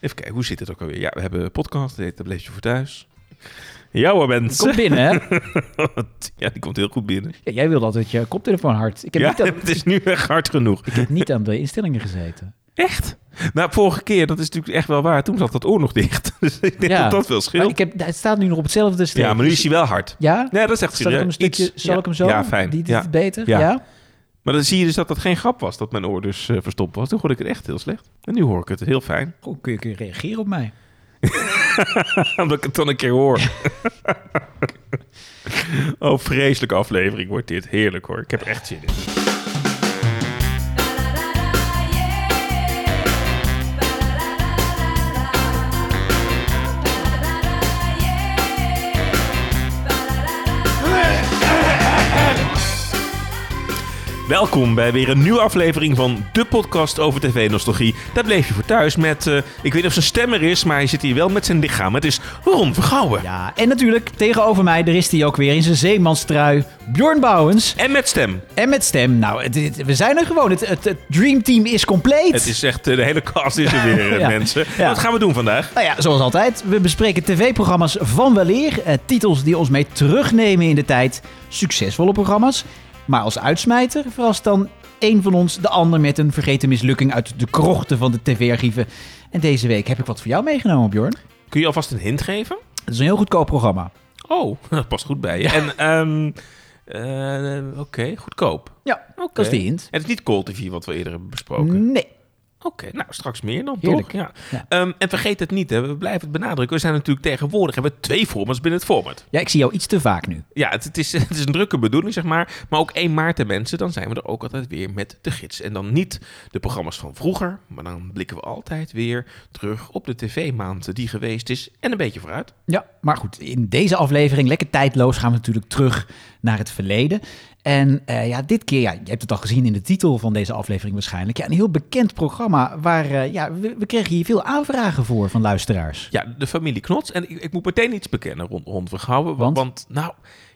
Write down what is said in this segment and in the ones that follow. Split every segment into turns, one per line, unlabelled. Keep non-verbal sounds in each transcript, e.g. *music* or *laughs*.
Even kijken, hoe zit het ook alweer? Ja, we hebben een podcast, die heet Dat Bleef Je Voor Thuis. Ja hoor, mensen.
Kom binnen, hè?
Ja, die komt *laughs* heel goed binnen.
*laughs* Ja, jij wil altijd je koptelefoon hard. Ik heb,
ja,
niet, aan,
*laughs* het is nu echt hard genoeg.
ik heb niet aan de instellingen gezeten.
Echt? Nou, vorige keer, dat is natuurlijk echt wel waar. Toen zat dat oor nog dicht. *laughs* Dus ik denk
Ja.
dat dat wel
Maar
scheelt.
ik heb, het staat nu nog op hetzelfde stuk.
Ja, maar nu is hij wel hard.
Ja?
Nee, dat is echt
Zal ik hem een
serieus.
stukje,
Iets.
zal
ja.
ik hem zo?
Ja, fijn.
Die, die
ja.
is beter?
Ja.
Ja.
Maar dan zie je dus dat dat geen grap was, dat mijn oor dus eh, verstopt was. Toen hoorde ik het echt heel slecht. En nu hoor ik het heel fijn, *laughs*
Goed, Oh, kun je, kun je reageren op mij?
omdat ik het dan een keer hoor.
*laughs*
oh, vreselijke aflevering wordt dit. Heerlijk hoor. Ik heb er echt zin in. Welkom bij weer een nieuwe aflevering van de podcast over tv-nostalgie. Daar bleef je voor thuis met, eh, ik weet niet of zijn stemmer is, maar hij zit hier wel met zijn lichaam. Het is Ron Vergouwen.
Ja, en natuurlijk tegenover mij, daar is hij ook weer in zijn zeemanstrui. Bjorn Bouwens.
En met stem.
En met stem. Nou, het- het- we zijn er gewoon. Het, het, het Dream Team is compleet.
Het is echt, eh, de hele cast is er weer, *laughs* eh,
Ja.
mensen.
Ja.
Wat gaan we doen vandaag?
Nou ja, zoals altijd, we bespreken tv-programma's van weleer. eh, titels die ons mee terugnemen in de tijd. Succesvolle programma's. Maar als uitsmijter verrast dan een van ons de ander met een vergeten mislukking uit de krochten van de tv-archieven. En deze week heb ik wat voor jou meegenomen, Bjorn.
Kun je alvast een hint geven?
Het is een heel goedkoop programma.
Oh, *laughs* dat past goed bij je. En, ehm, eh, oké, goedkoop.
Ja,
Oké.
dat is de hint.
En het is niet Cold TV wat we eerder hebben besproken.
Nee.
Oké, nou straks meer dan
Heerlijk.
toch? Mm. Ja.
Ja.
Ehm, en vergeet het niet, hè, we blijven het benadrukken. We zijn natuurlijk tegenwoordig, hebben we twee formats binnen het format.
Ja, ik zie jou iets te vaak nu.
Ja, het, het is, *laughs* het is een drukke bedoeling, zeg maar. Maar ook 1 maart, hè, mensen, dan zijn we er ook altijd weer met de gids. En dan niet de programma's van vroeger, maar dan blikken we altijd weer terug op de tv-maand die geweest is en een beetje vooruit.
Ja, maar goed, in deze aflevering, lekker tijdloos, gaan we natuurlijk terug naar het verleden. En eh, ja, dit keer, ja, je hebt het al gezien in de titel van deze aflevering waarschijnlijk. Ja, een heel bekend programma waar, eh, ja, we, we kregen hier veel aanvragen voor van luisteraars.
Ja, de familie Knots. En ik, ik moet meteen iets bekennen rond, rond Vergouwen. Want?
Want?
want, nou,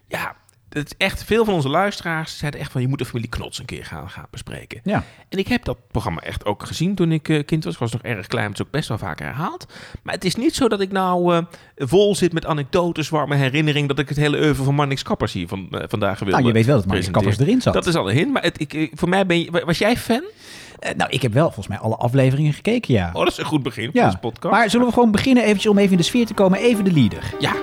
ja, het is echt, veel van onze luisteraars zeiden echt van... je moet de familie Knots een keer gaan, gaan bespreken.
Ja,
En ik heb dat programma echt ook gezien toen ik eh, kind was. Ik was nog erg klein, het is ook best wel vaak herhaald. Maar het is niet zo dat ik nou eh, vol zit met anekdotes, warme herinnering... dat ik het hele oeuvre van Marnix Kappers hier van, eh, vandaag wil
nou, je weet wel dat Marcus Kappers erin zat.
Dat is al een hint, maar het, ik, eh, voor mij ben je... wa- Was jij fan?
Eh, nou, ik heb wel volgens mij alle afleveringen gekeken, ja.
Oh, dat is een goed begin van
ja.
deze podcast.
Maar zullen we gewoon beginnen eventjes om even in de sfeer te komen, even de leader.
Ja,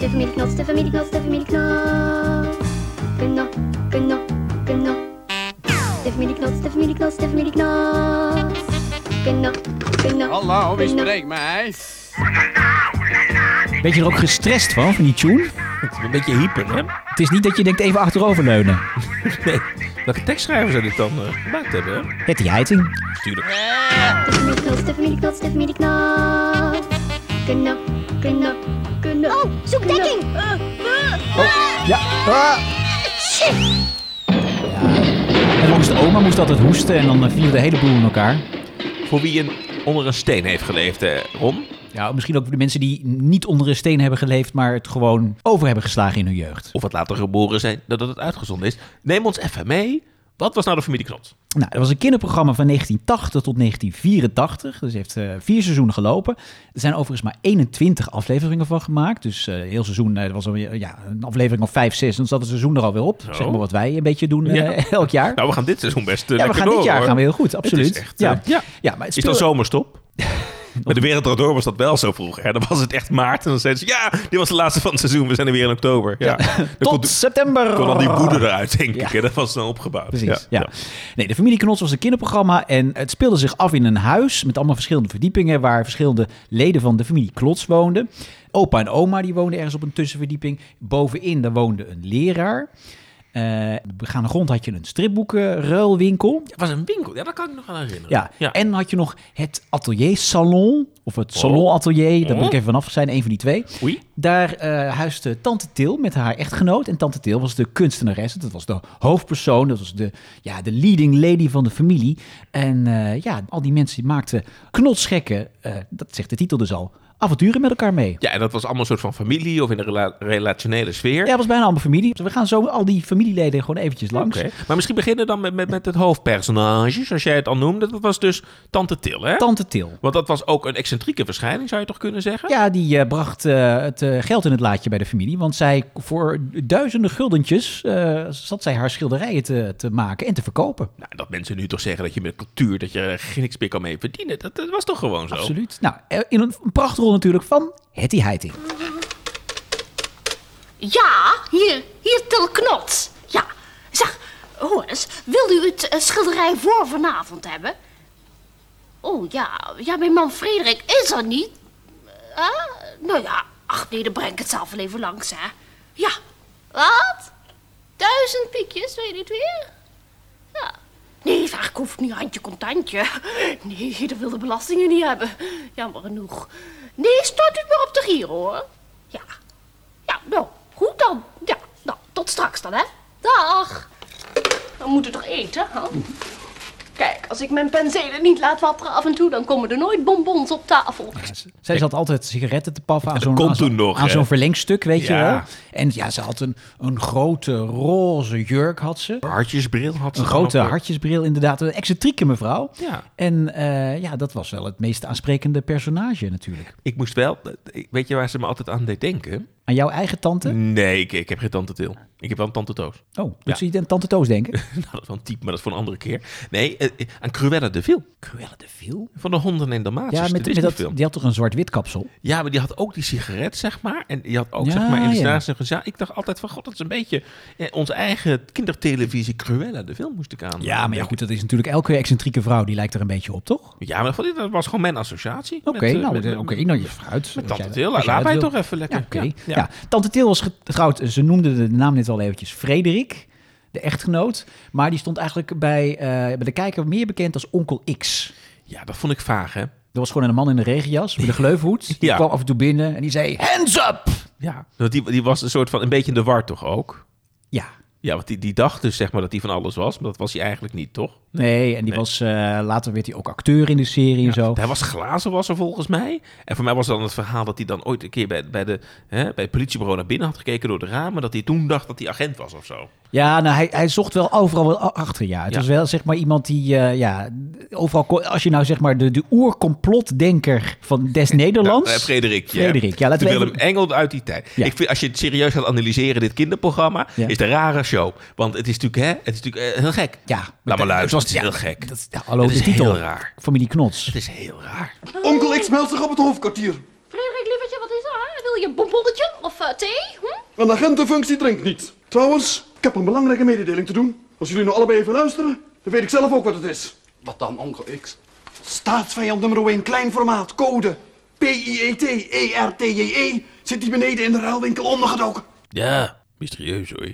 De familie Knots, de familie Knots, de familie Knots. Knop, knop, knop. De familie Knots, de familie Knots, de familie Knots. Knop, knop.
Hallo, wie
knop.
spreekt mij?
Ben je er ook gestrest van, van die tune?
het is een beetje hyper, hè?
Het is niet dat je denkt even achteroverleunen.
Nee, welke tekstschrijver zou dit dan eh, gemaakt hebben? hè?
Hetty Heiting.
Tuurlijk.
De familie Knots, de familie Knots, de familie Knots. Knop, knop, knop. Oh, zoek dekking!
Ja. En langs de oma moest altijd hoesten en dan eh, viel de hele boel in elkaar.
Voor wie een, onder een steen heeft geleefd, eh, Ron.
Ja, misschien ook voor de mensen die niet onder een steen hebben geleefd, maar het gewoon over hebben geslagen in hun jeugd.
Of wat later geboren zijn, nadat het uitgezonden is. Neem ons even mee. Wat was nou de familie Knot?
Nou, dat was een kinderprogramma van 1980 tot 1984. Dus heeft eh, vier seizoenen gelopen. Er zijn overigens maar 21 afleveringen van gemaakt. Dus eh heel seizoen, eh, er was alweer, ja, een aflevering of 5, 6. Dan zat het seizoen er alweer op.
Zo.
Zeg maar wat wij een beetje doen eh,
Ja.
elk jaar.
Nou, we gaan dit seizoen best eh,
ja, we
lekker
gaan
door,
dit jaar
hoor.
gaan we heel goed, absoluut.
Het is echt,
ja.
eh, ja.
Ja, maar het
Is dan
speelde- *laughs*
zomerstop? Bij de wereld Draait door was dat wel zo vroeg. Hè? Dan was het echt maart. En dan zeiden ze, ja, dit was de laatste van het seizoen. We zijn er weer in oktober. Ja. Dan kon,
*laughs* Tot september.
kon al die woede eruit, denk
Ja.
ik. Hè? Dat was dan opgebouwd.
Precies, ja. Nee, de familie Knots was een kinderprogramma en het speelde zich af in een huis met allemaal verschillende verdiepingen waar verschillende leden van de familie Knots woonden. Opa en oma die woonden ergens op een tussenverdieping. Bovenin daar woonde een leraar. Eh aan de grond had je een stripboekenruilwinkel.
Het was een winkel. Ja, dat kan ik me nog wel herinneren.
Ja.
ja. Oh.
en dan had je nog het atelier salon, of het salon atelier, daar moet ik even vanaf zijn, een van die twee.
Oei.
Daar eh, huisde Tante Til met haar echtgenoot. En Tante Til was de kunstenares. Dat was de hoofdpersoon. Dat was de, ja, de leading lady van de familie. En eh, ja, al die mensen die maakten knotsgekke, eh, dat zegt de titel dus al, avonturen met elkaar mee.
Ja, en dat was allemaal een soort van familie of in een rela- relationele sfeer.
Ja, dat was bijna allemaal familie. Dus we gaan zo al die familieleden gewoon eventjes langs.
Oké. Maar misschien beginnen we dan met, met, met het hoofdpersonage, zoals jij het al noemde. Dat was dus Tante Til, hè?
Tante Til.
Want dat was ook een excentrieke verschijning, zou je toch kunnen zeggen?
Ja, die eh, bracht eh, het eh, geld in het laadje bij de familie. Want zij voor duizenden guldentjes eh, zat zij haar schilderijen te, te maken en te verkopen.
Nou, dat mensen nu toch zeggen dat je met cultuur, dat je er geen niks meer kan mee verdienen. Dat, dat was toch gewoon zo?
Absoluut. Nou, eh, in een, een prachtrol natuurlijk van Hetty Heiting.
Ja, hier, hier Til Knots. Ja, zeg, hoor eens, wil u het eh, schilderij voor vanavond hebben? Oh ja, ja, mijn man Frederik is er niet. Eh, nou ja, ach nee, dan breng ik het zelf wel even langs, hè. Ja. Wat? Duizend piekjes, weet je het weer? Ja. Nee, zeg, ik hoef het niet handje contantje. Nee, dat wil de belastingen niet hebben. Jammer genoeg. Nee, stort het maar op de giro, hoor. Ja, ja, nou, goed dan. Ja, nou, tot straks dan, hè. Dag. We moeten toch eten, hè? Kijk, als ik mijn penselen niet laat wapperen af en toe, dan komen er nooit bonbons op tafel.
Zij zat altijd sigaretten te paffen aan zo'n
kon
aan zo'n-
toen nog,
aan
hè?
zo'n verlengstuk, weet je
Ja.
wel. En ja, ze had een, een grote roze jurk, had ze.
Hartjesbril had ze
Een
dan
grote
ook weer.
hartjesbril, inderdaad. Een excentrieke mevrouw.
Ja.
En eh, ja, dat was wel het meest aansprekende personage natuurlijk.
Ik moest wel... ik- Weet je waar ze me altijd aan deed denken?
Aan jouw eigen tante?
Nee, ik, ik heb geen tante Til. Ik heb wel een tante Toos. *laughs*
Oh, doet ze niet aan tante Toos denken?
nou, dat is wel een type, maar dat is voor een andere keer. Nee, eh, eh, aan Cruella de Vil.
Cruella de Vil?
Van de honden en Dalmatiërs.
Ja,
de
met, met dat,
Disneyfilm.
die had toch een zwart-wit kapsel?
Ja, maar die had ook die sigaret, zeg maar. En die had ook,
Ja,
zeg maar, in de
ja.
staats- en ja. Ik dacht altijd van, god, dat is een beetje eh, onze eigen kindertelevisie Cruella. De film moest ik aan.
Ja, maar ja, goed, dat is natuurlijk elke excentrieke vrouw, die lijkt er een beetje op, toch?
Ja, maar dat- dat was gewoon mijn associatie.
Oké,
Met, eh,
nou,
met-
oké, nou, je fruit.
Met
Als
Tante
jij-
Til,
als jij
laat
het
mij
wil.
toch even lekker.
Ja, oké.
Ja, ja.
Ja. Tante Til was getrouwd. Ze noemde de naam net al eventjes. Frederik, de echtgenoot. Maar die stond eigenlijk bij, eh, bij de kijker meer bekend als onkel X.
Ja, dat vond ik vaag, hè.
Er was gewoon een man in een
*laughs*
regenjas met een gleufhoed. Die
Ja.
kwam af en toe binnen en die zei, hands up!
Ja, want die, die was een soort van, een beetje in de war toch ook?
Ja.
Ja, want die, die dacht dus, zeg maar, dat hij van alles was. Maar dat was hij eigenlijk niet, toch?
Nee, en die was, eh, later werd hij ook acteur in de serie en zo.
Hij was glazenwasser volgens mij. En voor mij was dan het verhaal dat hij dan ooit een keer bij, bij, de, hè, bij het politiebureau naar binnen had gekeken door de ramen. Dat hij toen dacht dat hij agent was of zo.
Ja, nou, hij, hij zocht wel overal wel a- achter, ja. Het
Ja.
was wel, zeg maar, iemand die, eh, ja, overal... kon- Als je nou, zeg maar, de, de oercomplotdenker van
*laughs*
des Nederlands...
Nou, eh, Frederik.
Frederik, ja, laten
De
we
Willem
even-
Engel uit die tijd.
Ja.
Ik vind, als je het serieus gaat analyseren, dit kinderprogramma,
Ja.
is het een rare show. Want het is natuurlijk, hè, het is natuurlijk eh, heel gek.
Ja.
Laat maar
Het-
luisteren, het
het
is
was-
heel
ja,
gek.
Dat, ja, hallo,
Het
de
is
titel.
heel raar. Dus
Familie Knots.
Het is heel raar.
Onkel X meldt zich op het hoofdkwartier.
Frederik, lievertje, wat is er? Hè? Wil je een bonbonnetje of eh, thee? Hm?
Een agentenfunctie drinkt niet. Trouwens, ik heb een belangrijke mededeling te doen. Als jullie nou allebei even luisteren, dan weet ik zelf ook wat het is.
Wat dan, onkel X?
Staatsvijand nummer 1, klein formaat, code. E P-I-E-T-E-R-T-J-E E, zit hier beneden in de ruilwinkel ondergedoken.
Ja, mysterieus *laughs* hoor.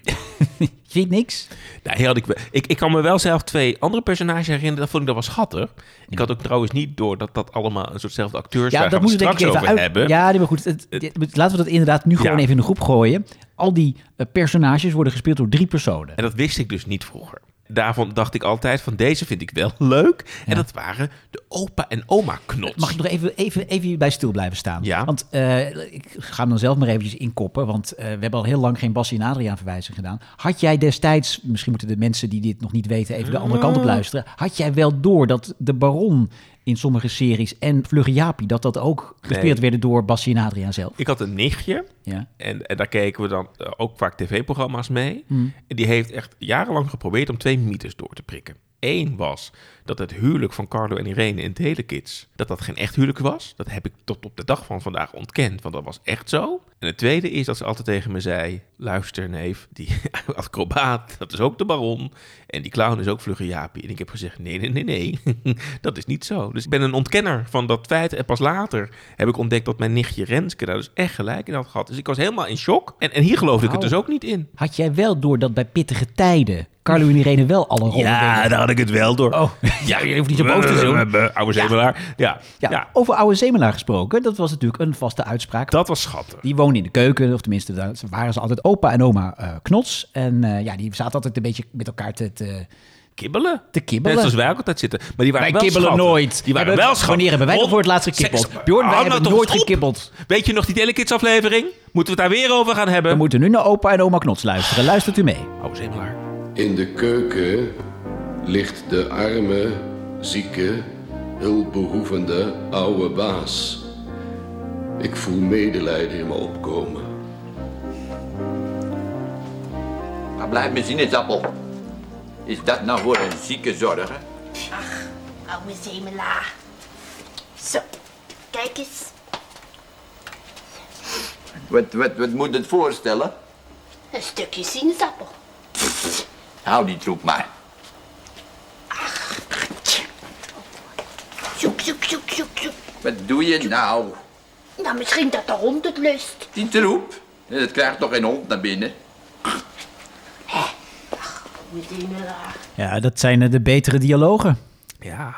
Je weet niks?
Nou, hier had ik, wel- ik, ik kan me wel zelf twee andere personages herinneren. Dat vond ik dat was schattig. Ik had ook trouwens niet door dat dat allemaal een soortzelfde acteurs
Ja,
waren. Daar
dat
gaan
moeten
we
we denk ik
straks
even
over hebben.
uit... Ja, nee, maar goed. het- het- laten we dat inderdaad nu gewoon
Ja.
even in de groep gooien. Al die eh, personages worden gespeeld door drie personen.
En dat wist ik dus niet vroeger. Daarvan dacht ik altijd van deze vind ik wel *laughs* leuk. En dat waren de opa en oma knots.
Mag ik nog even, even, even hierbij stil blijven staan?
Ja.
Want eh, ik ga hem dan zelf maar eventjes inkoppen. Want eh, we hebben al heel lang geen Bassie en Adriaan verwijzing gedaan. Had jij destijds, misschien moeten de mensen die dit nog niet weten even de andere kant op luisteren. Had jij wel door dat de Baron in sommige series en Vlugge Jaapie, dat dat ook gespeeld
Nee.
werden door Bassie en Adriaan zelf?
Ik had een nichtje.
Ja.
En, en daar keken we dan eh, ook vaak tv-programma's mee. En die heeft echt jarenlang geprobeerd om twee mythes door te prikken. Eén was dat het huwelijk van Carlo en Irene in Telekids... dat dat geen echt huwelijk was. Dat heb ik tot op de dag van vandaag ontkend, want dat was echt zo. En het tweede is dat ze altijd tegen me zei... luister neef, die *laughs* acrobaat, dat is ook de baron. En die clown is ook Vlugge Jaapie. En ik heb gezegd, nee, nee, nee, nee, *laughs* dat is niet zo. Dus ik ben een ontkenner van dat feit. En pas later heb ik ontdekt dat mijn nichtje Renske daar dus echt gelijk in had gehad. Dus ik was helemaal in shock. En, en hier geloofde ik het dus ook niet in. *laughs*
Had jij wel door dat bij pittige tijden Carlo en Irene wel alle rollen deden?
daar had ik het wel door.
Oh, ja, je hoeft niet zo boos te doen. *laughs*
Oude zemelaar. Ja.
Ja,
Ja.
Over oude Zemelaar gesproken, dat was natuurlijk een vaste uitspraak
dat was schattig.
Die woonden in de keuken, of tenminste, daar waren ze altijd opa en oma eh, Knots. En eh, ja, die zaten altijd een beetje met elkaar te, te
kibbelen.
Te kibbelen?
Net zoals wij ook altijd zitten. Maar die waren
Wij
wel
kibbelen
schatten.
nooit.
Die waren
Hebben-
wel schatten.
wanneer hebben wij
Ron,
nog voor het laatst
zeg-
gekibbeld? Bjorn,
hou
wij hebben
nou toch
nooit
eens op.
gekibbeld.
Weet je nog die Delikids aflevering? Moeten we het daar weer over gaan hebben?
We moeten nu naar opa en oma Knots luisteren. Luistert u mee.
Oh, Zemelaar.
In de keuken ligt de arme, zieke, hulpbehoevende oude baas. Ik voel medelijden in me opkomen.
Maar blijf mijn sinaasappel. Is dat nou voor een zieke zorgen?
Oude zemela. Zo, kijk eens.
Wat, wat, wat moet het voorstellen?
Een stukje sinaasappel.
Hou die troep maar.
Zoek, zoek, zoek, zoek, zoek.
Wat doe je nou?
Nou, misschien dat de hond het lust.
Die troep? Dat krijgt toch geen hond naar binnen?
Oude zemela.
Ja, dat zijn eh, de betere dialogen.
Ja.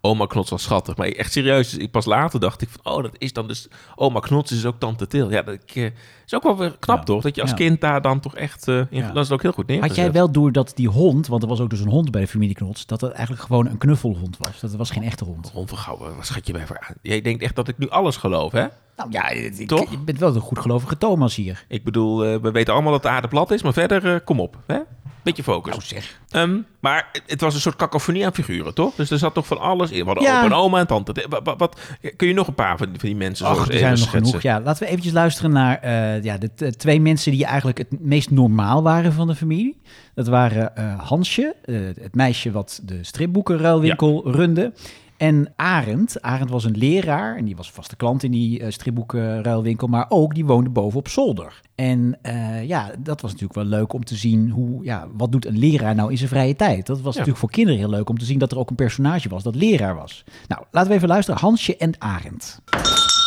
Oma Knots was schattig. Maar echt serieus, dus ik pas later dacht ik van... Oh, dat is dan dus... Oma Knots is ook Tante Til. Ja, dat ik, eh, is ook wel weer knap,
Ja.
toch? Dat je als
Ja.
kind daar dan toch echt... eh in,
Ja.
Dat is ook heel goed Dus, eh, neergezet.
Had jij wel door dat die hond, want er was ook dus een hond bij de familie Knots, dat het eigenlijk gewoon een knuffelhond was. Dat het was geen echte hond.
Ron van Gouwen, wat schat je mij voor aan? Jij denkt echt dat ik nu alles geloof, hè?
Nou ja, ik,
Toch?
je bent wel een goed gelovige Thomas hier.
Ik bedoel, eh, we weten allemaal dat de aarde plat is, maar verder, eh, kom op. Hè? Beetje focus.
Nou zeg.
Ehm, maar het- het was een soort cacophonie aan figuren, toch? Dus er zat toch van alles in. We hadden
Ja.
opa en oma en tante. De- wa- wa- wat, kun je nog een paar van die, van die mensen zo
Ach,
eens
er zijn er
even
nog genoeg.
schetsen?
Ja, laten we eventjes luisteren naar eh, ja, de t- twee mensen die eigenlijk het meest normaal waren van de familie. Dat waren eh, Hansje, eh, het meisje wat de stripboekenruilwinkel runde. En Arend. Arend was een leraar en die was vaste klant in die eh, stripboekenruilwinkel. Maar ook, die woonde boven op zolder. En eh, ja, dat was natuurlijk wel leuk om te zien hoe, ja, wat doet een leraar nou in zijn vrije tijd? Dat was natuurlijk voor kinderen heel leuk om te zien dat er ook een personage was dat leraar was. Nou, laten we even luisteren. Hansje en Arend.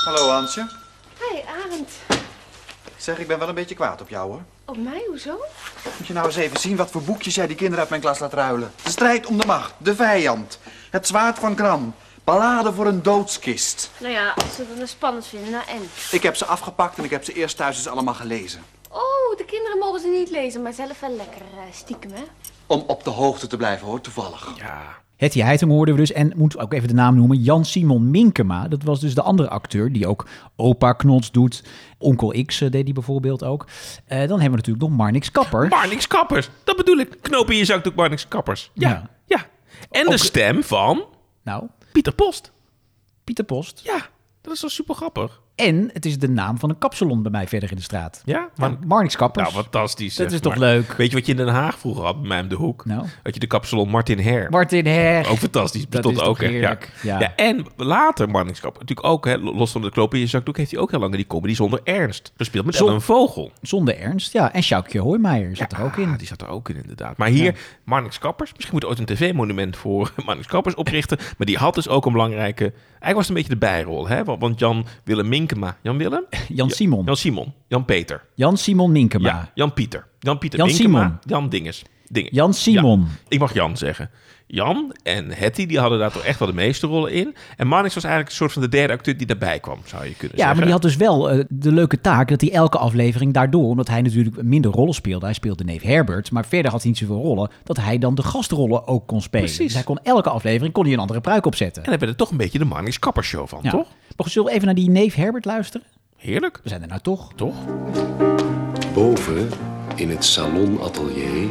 Hallo Hansje.
Hé, Arend.
Zeg, ik ben wel een beetje kwaad op jou hoor.
Op mij, hoezo?
Moet je nou eens even zien wat voor boekjes jij die kinderen uit mijn klas laat ruilen. De strijd om de macht, de vijand, het zwaard van Kram, ballade voor een doodskist.
Nou ja, als ze het dan spannend vinden, nou en?
Ik heb ze afgepakt en ik heb ze eerst thuis eens allemaal gelezen.
Oh, de kinderen mogen ze niet lezen, maar zelf wel lekker eh, stiekem, hè?
Om op de hoogte te blijven hoor, toevallig.
Hetty Heiting hoorden we dus. En moet ook even de naam noemen. Jan-Simon Minkema. Dat was dus de andere acteur die ook opa Knots doet. Onkel X eh, deed die bijvoorbeeld ook. Eh, dan hebben we natuurlijk nog Marnix Kapper.
Barnix Kappers, dat bedoel ik. Knopen in je zak doet Barnix Kappers. Ja,
Ja.
ja. En de stem van
nou,
Pieter Post.
Pieter Post.
Ja, dat is wel super grappig.
En het is de naam van een kapsalon bij mij verder in de straat.
Ja,
maar...
maar-
Marnix Kappers.
Nou, fantastisch.
Dat
zeg,
is toch
maar.
leuk?
Weet je wat je in Den Haag vroeger had, bij mij om de hoek?
Nou.
Had je de kapsalon Martin Her.
Martin Her.
Ook fantastisch.
Dat
Bestond
is toch
ook. hè? Ja.
heerlijk. Ja.
Ja. en later Marningskap. Natuurlijk ook, hè, los van de knoop in je zakdoek, heeft hij ook heel lang die comedy zonder ernst gespeeld. Met
Zon-
Ellen Vogel.
Zonder ernst. Ja, en Sjoukje Hoijmaier zat er ook in.
Ah, die zat er ook in, inderdaad. Maar hier, Marnix Kappers. Misschien moet ooit een tv-monument voor *laughs* Marnix Kappers oprichten. Maar die had dus ook een belangrijke... Eigenlijk was het een beetje de bijrol. Hè? Want want Jan Willem Minkema... Jan Willem?
Jan-Simon.
Jan Simon. Jan Peter.
Jan-Simon Minkema.
Ja, Jan Pieter. Jan Pieter
Ah. Jan
Minkema.
Simon.
Jan Dinges. Ding.
Jan Simon.
Ik mag Jan zeggen. Jan en Hetty die hadden daar toch echt wel de meeste rollen in. En Marnix was eigenlijk een soort van de derde acteur die daarbij kwam, zou je kunnen
Ja,
zeggen.
maar die had dus wel eh, de leuke taak dat hij elke aflevering daardoor, omdat hij natuurlijk minder rollen speelde, hij speelde neef Herbert, maar verder had hij niet zoveel rollen, dat hij dan de gastrollen ook kon spelen.
Precies.
Dus hij kon elke aflevering kon hij een andere pruik opzetten.
En daar werd het toch een beetje de Marnix Kappershow van,
Ja.
toch?
Maar goed, zullen we even naar die neef Herbert luisteren?
Heerlijk.
We zijn er nou toch?
Toch?
Boven, in het salonatelier,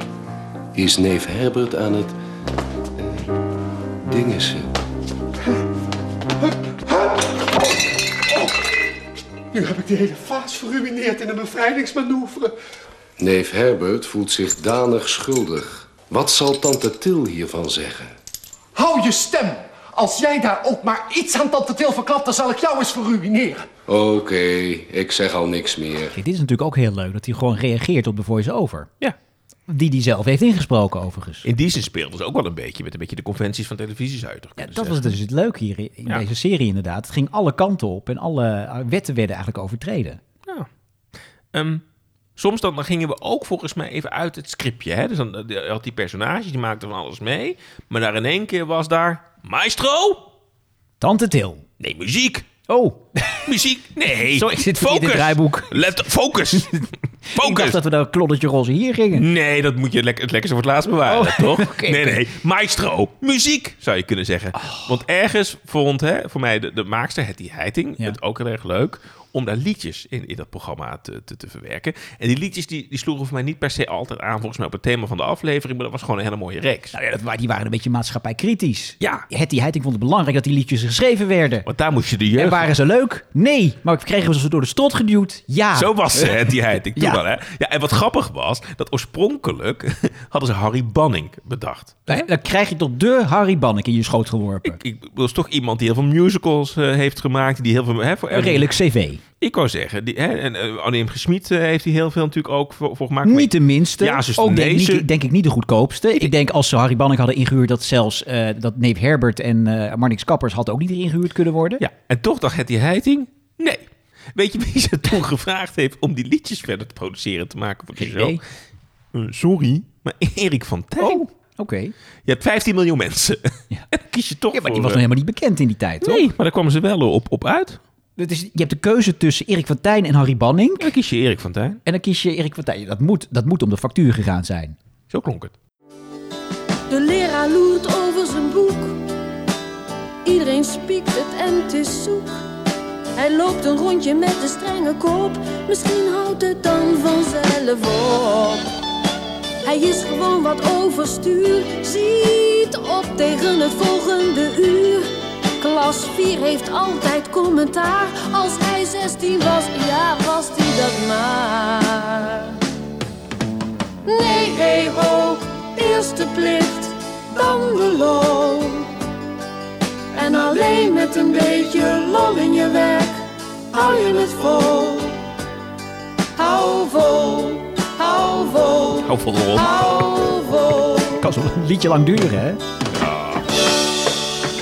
is neef Herbert aan het eh, dingissen.
Nu heb ik die hele vaas geruineerd in een bevrijdingsmanoeuvre.
Neef Herbert voelt zich danig schuldig. Wat zal tante Til hiervan zeggen?
Hou je stem! Als jij daar ook maar iets aan Tante Til verklapt, dan zal ik jou eens verruineren.
Oké, ik zeg al niks meer.
Kijk, dit is natuurlijk ook heel leuk dat hij gewoon reageert op de voice-over.
Ja.
Die hij zelf heeft ingesproken, overigens.
In die zin speelden ze ook wel een beetje met een beetje de conventies van televisie, zou je toch
Ja,
kunnen
dat was
zeggen.
dus het leuke hier in in
Ja.
deze serie, inderdaad. Het ging alle kanten op en alle eh, wetten werden eigenlijk overtreden.
Ja. Ehm, soms dan, dan gingen we ook volgens mij even uit het scriptje. Hè? Dus dan eh, die- had die personages, die maakten van alles mee. Maar daar in één keer was daar... Maestro?
Tante Til.
Nee, muziek.
Oh,
Muziek? Nee.
Sorry, ik zit verkeerd in
focus.
het draaiboek.
Let, focus.
*laughs* Ik dacht dat we naar Kloddertje Roze hier gingen.
Nee, dat moet je lek- het lekkerste voor het laatst bewaren,
Oh, *laughs*
toch? nee, nee. Maestro, muziek, zou je kunnen zeggen.
Oh.
Want ergens vond hè, voor mij de, de maakster, Hetty Heiting, het ook heel erg leuk om daar liedjes in, in dat programma te, te, te verwerken. En die liedjes die, die sloegen voor mij niet per se altijd aan, volgens mij op het thema van de aflevering, maar dat was gewoon een hele mooie reeks.
Nou ja, dat, wa- die waren een beetje maatschappijkritisch.
Ja.
Hetty Heiting vond het belangrijk dat die liedjes geschreven werden.
Want daar moest je de Oh, jeugd...
En waren ze leuk? Nee. Maar kregen we ze door de strot geduwd? Ja.
Zo was ze, hè, die heid. Ik doe
Ah. Ja.
wel, hè. Ja, en wat grappig was, dat oorspronkelijk *laughs* hadden ze Harry Banning bedacht.
Hè? Dan krijg je tot de Harry Bannek in je schoot geworpen.
Ik, ik was toch iemand die heel veel musicals eh, heeft gemaakt, die heel veel... Hè, voor,
Een redelijk cv.
eh, Ik wou zeggen, die, hè, en eh, Annie M. Gesmied eh, heeft hij heel veel natuurlijk ook voor, voor gemaakt.
Niet de minste.
Ja, ze is
Ook denk,
Tunese.
niet, denk ik niet de goedkoopste. Ik denk als ze Harry Bannek hadden ingehuurd... dat zelfs eh, dat neef Herbert en eh Marnix Kappers... had ook niet ingehuurd kunnen worden.
Ja, en toch dacht Hetty Heiting, nee. Weet je wie ze toen *laughs* gevraagd heeft om die liedjes verder te produceren, te maken voor de show?
idee.
Eh, sorry, maar *laughs* Erik van Tijn.
Oh, oké.
Je hebt 15 miljoen mensen.
Ja.
En dan *laughs* kies je toch
Ja, maar die
voor,
was nog
eh,
helemaal niet bekend in die tijd, toch?
Nee, maar daar kwamen ze wel op, op uit.
Dat is, je hebt de keuze tussen Erik van Tijn en Harry Banning.
Ja, dan kies je Erik van Tijn.
En dan kies je Erik van Tijn. Dat moet, dat moet om de factuur gegaan zijn.
Zo klonk het.
De leraar loert over zijn boek. Iedereen spiekt het en het is zoek. Hij loopt een rondje met de strenge kop. Misschien houdt het dan vanzelf op. Hij is gewoon wat overstuur. Ziet op tegen het volgende uur. Klas 4 heeft altijd commentaar. Als hij 16 was, ja, was hij dat maar. Nee, hey ho, eerste plicht, dan beloon. En alleen met een beetje lol in je werk, hou je het vol. Hou vol, hou vol,
Hou vol rol.
hou vol.
Kan zo'n liedje lang duren, hè?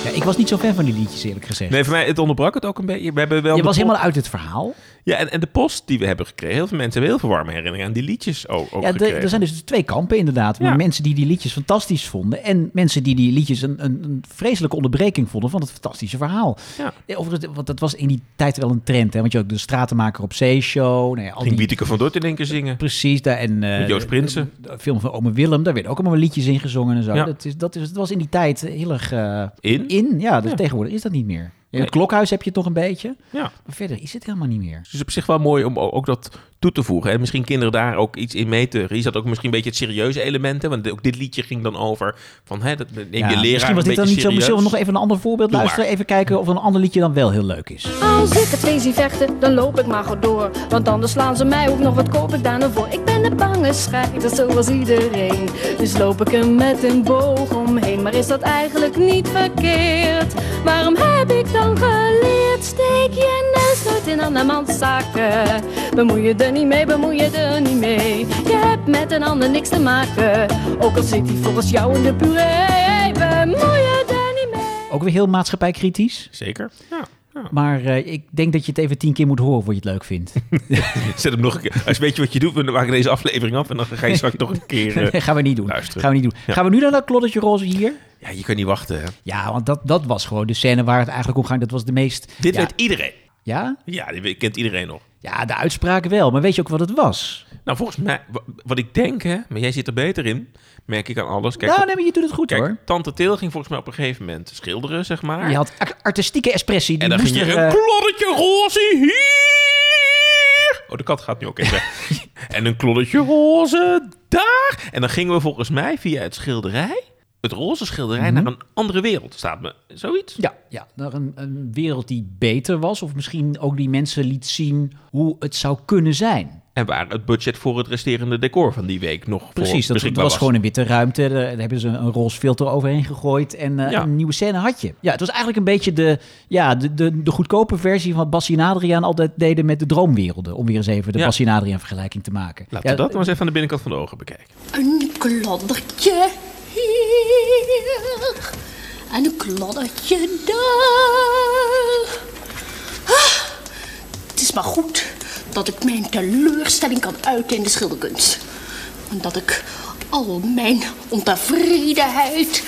Ja, ik was niet zo fan van die liedjes, eerlijk gezegd.
Nee, voor mij het onderbrak het ook een beetje. We hebben wel
Je
de
was
po-
helemaal uit het verhaal.
Ja, en, en de post die we hebben gekregen. Heel veel mensen hebben heel veel warme herinneringen aan die liedjes ook, ook
Ja, de-
gekregen.
er zijn dus twee kampen inderdaad. Maar
Ja.
Mensen die die liedjes fantastisch vonden... en mensen die die liedjes een, een, een vreselijke onderbreking vonden... van het fantastische verhaal.
Ja.
Ja, Overigens, want dat was in die tijd wel een trend. Hè? Want je had ook de Stratenmaker op Zeeshow. Nou ja, al
Ging
die,
Wieteke van Dort in één keer zingen.
precies. Daar, en, eh,
Met Joost Prinsen.
De, de film van Ome Willem. Daar werden ook allemaal liedjes in gezongen en zo.
Ja.
Dat, is, dat, is, dat was in die tijd heel erg... eh,
In?
In, ja. Dus
Ja.
tegenwoordig is dat niet meer. In
Nee.
het klokhuis heb je het toch een beetje.
Ja.
Maar verder is het helemaal niet meer.
Dus het is op zich wel mooi om o- ook dat toe te voegen. En misschien kinderen daar ook iets in mee te... Hier zat ook misschien een beetje het serieuze element. Hè? Want ook dit liedje ging dan over... van hè, dat neem je
Ja,
leraar
misschien was
een
dit
beetje
dan niet zo. Misschien
serieus.
we nog e- even een ander voorbeeld
Doe
luisteren.
maar.
Even kijken of een ander liedje dan wel heel leuk is.
Als ik het vee zie vechten, dan loop ik maar gewoon door. Want anders slaan ze mij ook nog, wat koop ik daar nou voor? Ik ben een bange strijder, zoals iedereen. Dus loop ik er met een boog omheen. Maar is dat eigenlijk niet verkeerd? Waarom heb ik dan geleerd? Steek je neus nooit in andermans zaken. Bemoei je er niet mee, bemoei je er niet mee. Je hebt met een ander niks te maken. Ook al zit hij volgens jou in de puree. Bemoei je er niet mee.
Ook weer heel maatschappijkritisch.
Zeker. *laughs* Ja. ja.
Maar eh, ik denk dat je het even tien keer moet horen voor je het leuk vindt.
Zet hem nog een keer. Als je weet je wat je doet, we maken deze aflevering af. En dan ga je
*laughs*
straks nog een keer... eh,
Nee, gaan we niet doen.
luisteren.
Gaan we, niet doen.
Ja.
gaan we nu naar dat kloddertje roze hier?
Ja, je kan niet wachten. Hè?
Ja, want dat, dat was gewoon de scène waar het eigenlijk om ging. Dat was de meest...
Dit
ja,
weet iedereen.
ja?
Ja, die weet- kent iedereen nog.
ja, de uitspraak wel. Maar weet je ook wat het was?
Nou, volgens mij, wa- wat ik denk, hè, maar jij zit er beter in, merk ik aan alles. Kijk,
nou, nee, maar je doet het goed
kijk
hoor.
Tante Til ging volgens mij op een gegeven moment schilderen, zeg maar.
Je had ar- artistieke expressie. Die
en dan
moest
ging je
er,
een
eh,
kloddertje roze hier. Oh, de kat gaat nu ook even.
*laughs*
en een kloddertje roze daar. En dan gingen we volgens mij via het schilderij, het roze schilderij, naar een andere wereld. Staat me zoiets?
Mhm. Ja, ja naar een, een wereld die beter was. Of misschien ook die mensen liet zien hoe het zou kunnen zijn.
En waar het budget voor het resterende decor van die week nog voor
Precies, dat, dat
beschikbaar
was gewoon een witte ruimte. Daar, daar hebben ze een roze filter overheen gegooid en eh,
Ja.
een nieuwe scène had je. Ja, het was eigenlijk een beetje de, ja, de, de, de goedkope versie van wat Bassie en Adriaan altijd deden met de droomwerelden. Om weer eens even de
Ja.
Bassie en Adriaan vergelijking te maken.
Laten
Ja,
we dat maar eens even aan de binnenkant van de ogen bekijken.
Een kloddertje hier en een kloddertje daar. Ah, het is maar goed dat ik mijn teleurstelling kan uiten in de schilderkunst. En dat ik al mijn ontevredenheid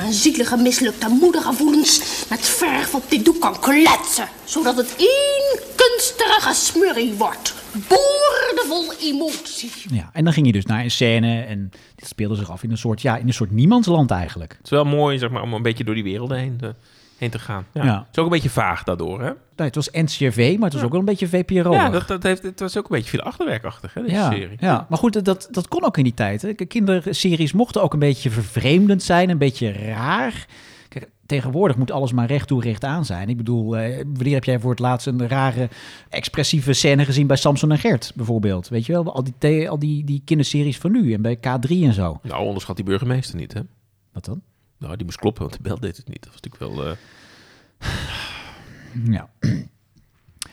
en zielige mislukte moedergevoelens met verf op dit doek kan kletsen. Zodat het één kunstige smurrie wordt. boordevol emotie.
Ja, en dan ging je dus naar een scène en dit speelde zich af in een soort, ja, in een soort niemandsland eigenlijk.
Het is wel mooi zeg maar, om een beetje door die werelden heen te, heen te gaan. Ja.
Ja.
Het is ook een beetje vaag daardoor, hè?
Nou, het was NCRV, maar het was ook wel een beetje VPRO.
Ja, dat, dat heeft, het was ook een beetje veel achterwerkachtig, hè, deze
ja,
serie.
ja, maar goed, dat, dat kon ook in die tijd. Hè. Kinderseries mochten ook een beetje vervreemdend zijn, een beetje raar. Kijk, tegenwoordig moet alles maar recht toe, recht aan zijn. Ik bedoel, eh, wanneer heb jij voor het laatst een rare expressieve scène gezien bij Samson en Gert, bijvoorbeeld? Weet je wel, al die, the- al die, die kinderseries van nu en bij K3 en zo.
Nou, onderschat die burgemeester niet, hè?
Wat dan?
Nou, die moest kloppen, want de bel deed het niet. Dat was natuurlijk wel... eh,
Ja.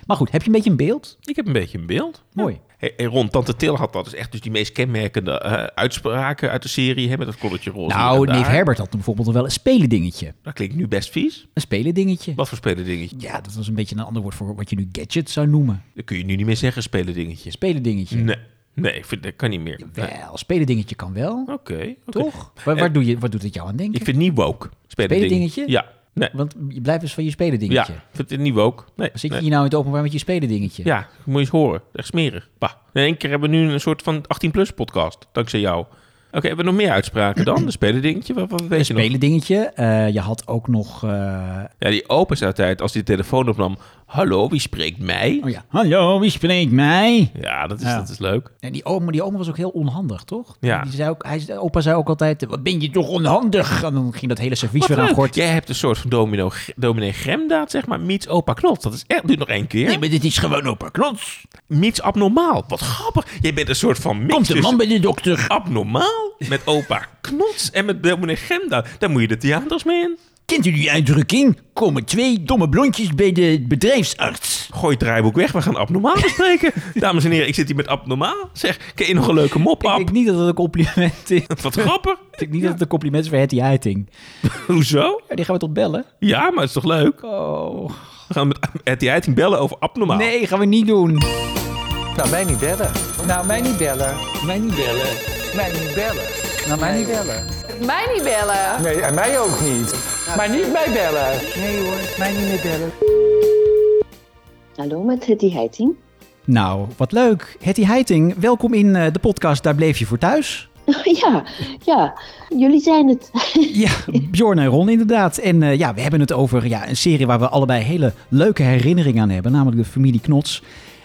Maar goed, heb je een beetje een beeld?
Ik heb een beetje een beeld.
Mooi.
Hey, hey, Ron, Tante Til had dat dus echt dus die meest kenmerkende eh, uitspraken uit de serie, hè, met dat colletje roze.
Nou,
hier en
Neef
daar.
Herbert had bijvoorbeeld wel een spelendingetje.
Dat klinkt nu best vies.
Een spelendingetje.
Wat voor spelendingetje?
Ja, dat was een beetje een ander woord voor wat je nu gadget zou noemen.
Dat kun je nu niet meer zeggen, spelendingetje.
Spelendingetje.
Nee, nee, ik vind, dat kan niet meer. Nee.
Wel, spelendingetje kan wel.
Oké. oké.
Toch? Waar, waar, doe je, waar doet het jou aan denken?
Ik vind niet woke. Spelendingetje?
Spelendingetje?
Ja. Nee.
Want je blijft dus van je
Ja,
spelendingetje.
ik vind het niet woke. Nee.
Zit je
nee.
hier nou in het openbaar met je spelendingetje?
Ja, moet je eens horen. Echt smerig. Bah. In één keer hebben we nu een soort van 18-plus podcast, dankzij jou. Oké, hebben we nog meer uitspraken dan? De spelendingetje? Wat, wat weet
Een
je nog?
spelendingetje. Eh, je had ook nog... eh,
Ja, die opa zei altijd, als hij de telefoon opnam... Hallo, wie spreekt mij?
oh ja. Hallo, wie spreekt mij?
Ja, dat is,
Ja.
Dat is leuk.
En die oma, die oma was ook heel onhandig, toch?
Ja.
Die zei ook, hij, zei- opa zei ook altijd, wat ben je toch onhandig? En dan ging dat hele servies weer aan gort.
Jij hebt een soort van domino, dominee Gremdaad, zeg maar, meets opa Knot. Dat is echt, nu nog één keer.
Nee, maar dit is gewoon opa Knots.
Meets abnormaal. Wat grappig. Jij bent een soort van mix
Komt de
tussen
man bij de dokter.
abnormaal met opa Knots en met dominee Gremdaad. Daar moet je de theaters mee in.
Kent u die uitdrukking? Komen twee domme blondjes bij de bedrijfsarts.
Gooi het draaiboek weg, we gaan abnormaal *laughs* bespreken. Dames en heren, ik zit hier met abnormaal. Zeg, ken je nog een leuke mop,
Ik
Ab?
denk niet dat het een compliment is. Ik
Wat grappig. *laughs*
denk niet dat het een compliment is voor Hetty Heiting.
Hoezo?
Ja, die gaan we toch bellen?
Ja, maar het is toch leuk?
Oh.
We gaan met *laughs* Etty Heiting bellen over abnormaal.
Nee, gaan we niet doen.
Nou, mij niet bellen. Nou, mij niet bellen. Mij niet bellen. Mij niet bellen. Nou, mij niet bellen.
Mij niet bellen.
Nee, en mij ook niet. Maar niet mij bellen. Nee hoor, mij niet meer bellen.
Hallo, met Hetty Heiting.
Nou, wat leuk. Hetty Heiting, welkom in eh, de podcast Daar Bleef Je Voor Thuis.
*laughs* ja, ja, jullie zijn het.
*laughs* Ja, Bjorn en Ron inderdaad. En eh, ja, we hebben het over ja, een serie waar we allebei hele leuke herinneringen aan hebben. Namelijk de familie Knots.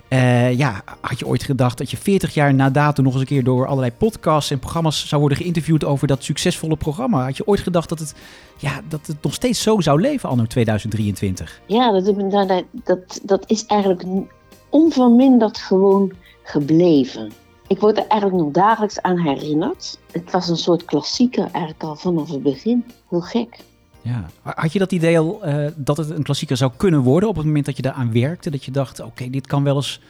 Eh, ja, had je ooit gedacht dat je 40 jaar na dato nog eens een keer door allerlei podcasts en programma's zou worden geïnterviewd over dat succesvolle programma? Had je ooit gedacht dat het, ja, dat het nog steeds zo zou leven anno 2023?
ja, dat, dat, dat, dat is eigenlijk onverminderd gewoon gebleven. Ik word er eigenlijk nog dagelijks aan herinnerd. Het was een soort klassieker eigenlijk al vanaf het begin. Heel gek.
Ja. Had je dat idee al eh, dat het een klassieker zou kunnen worden op het moment dat je daaraan werkte? Dat je dacht, oké, dit kan wel eens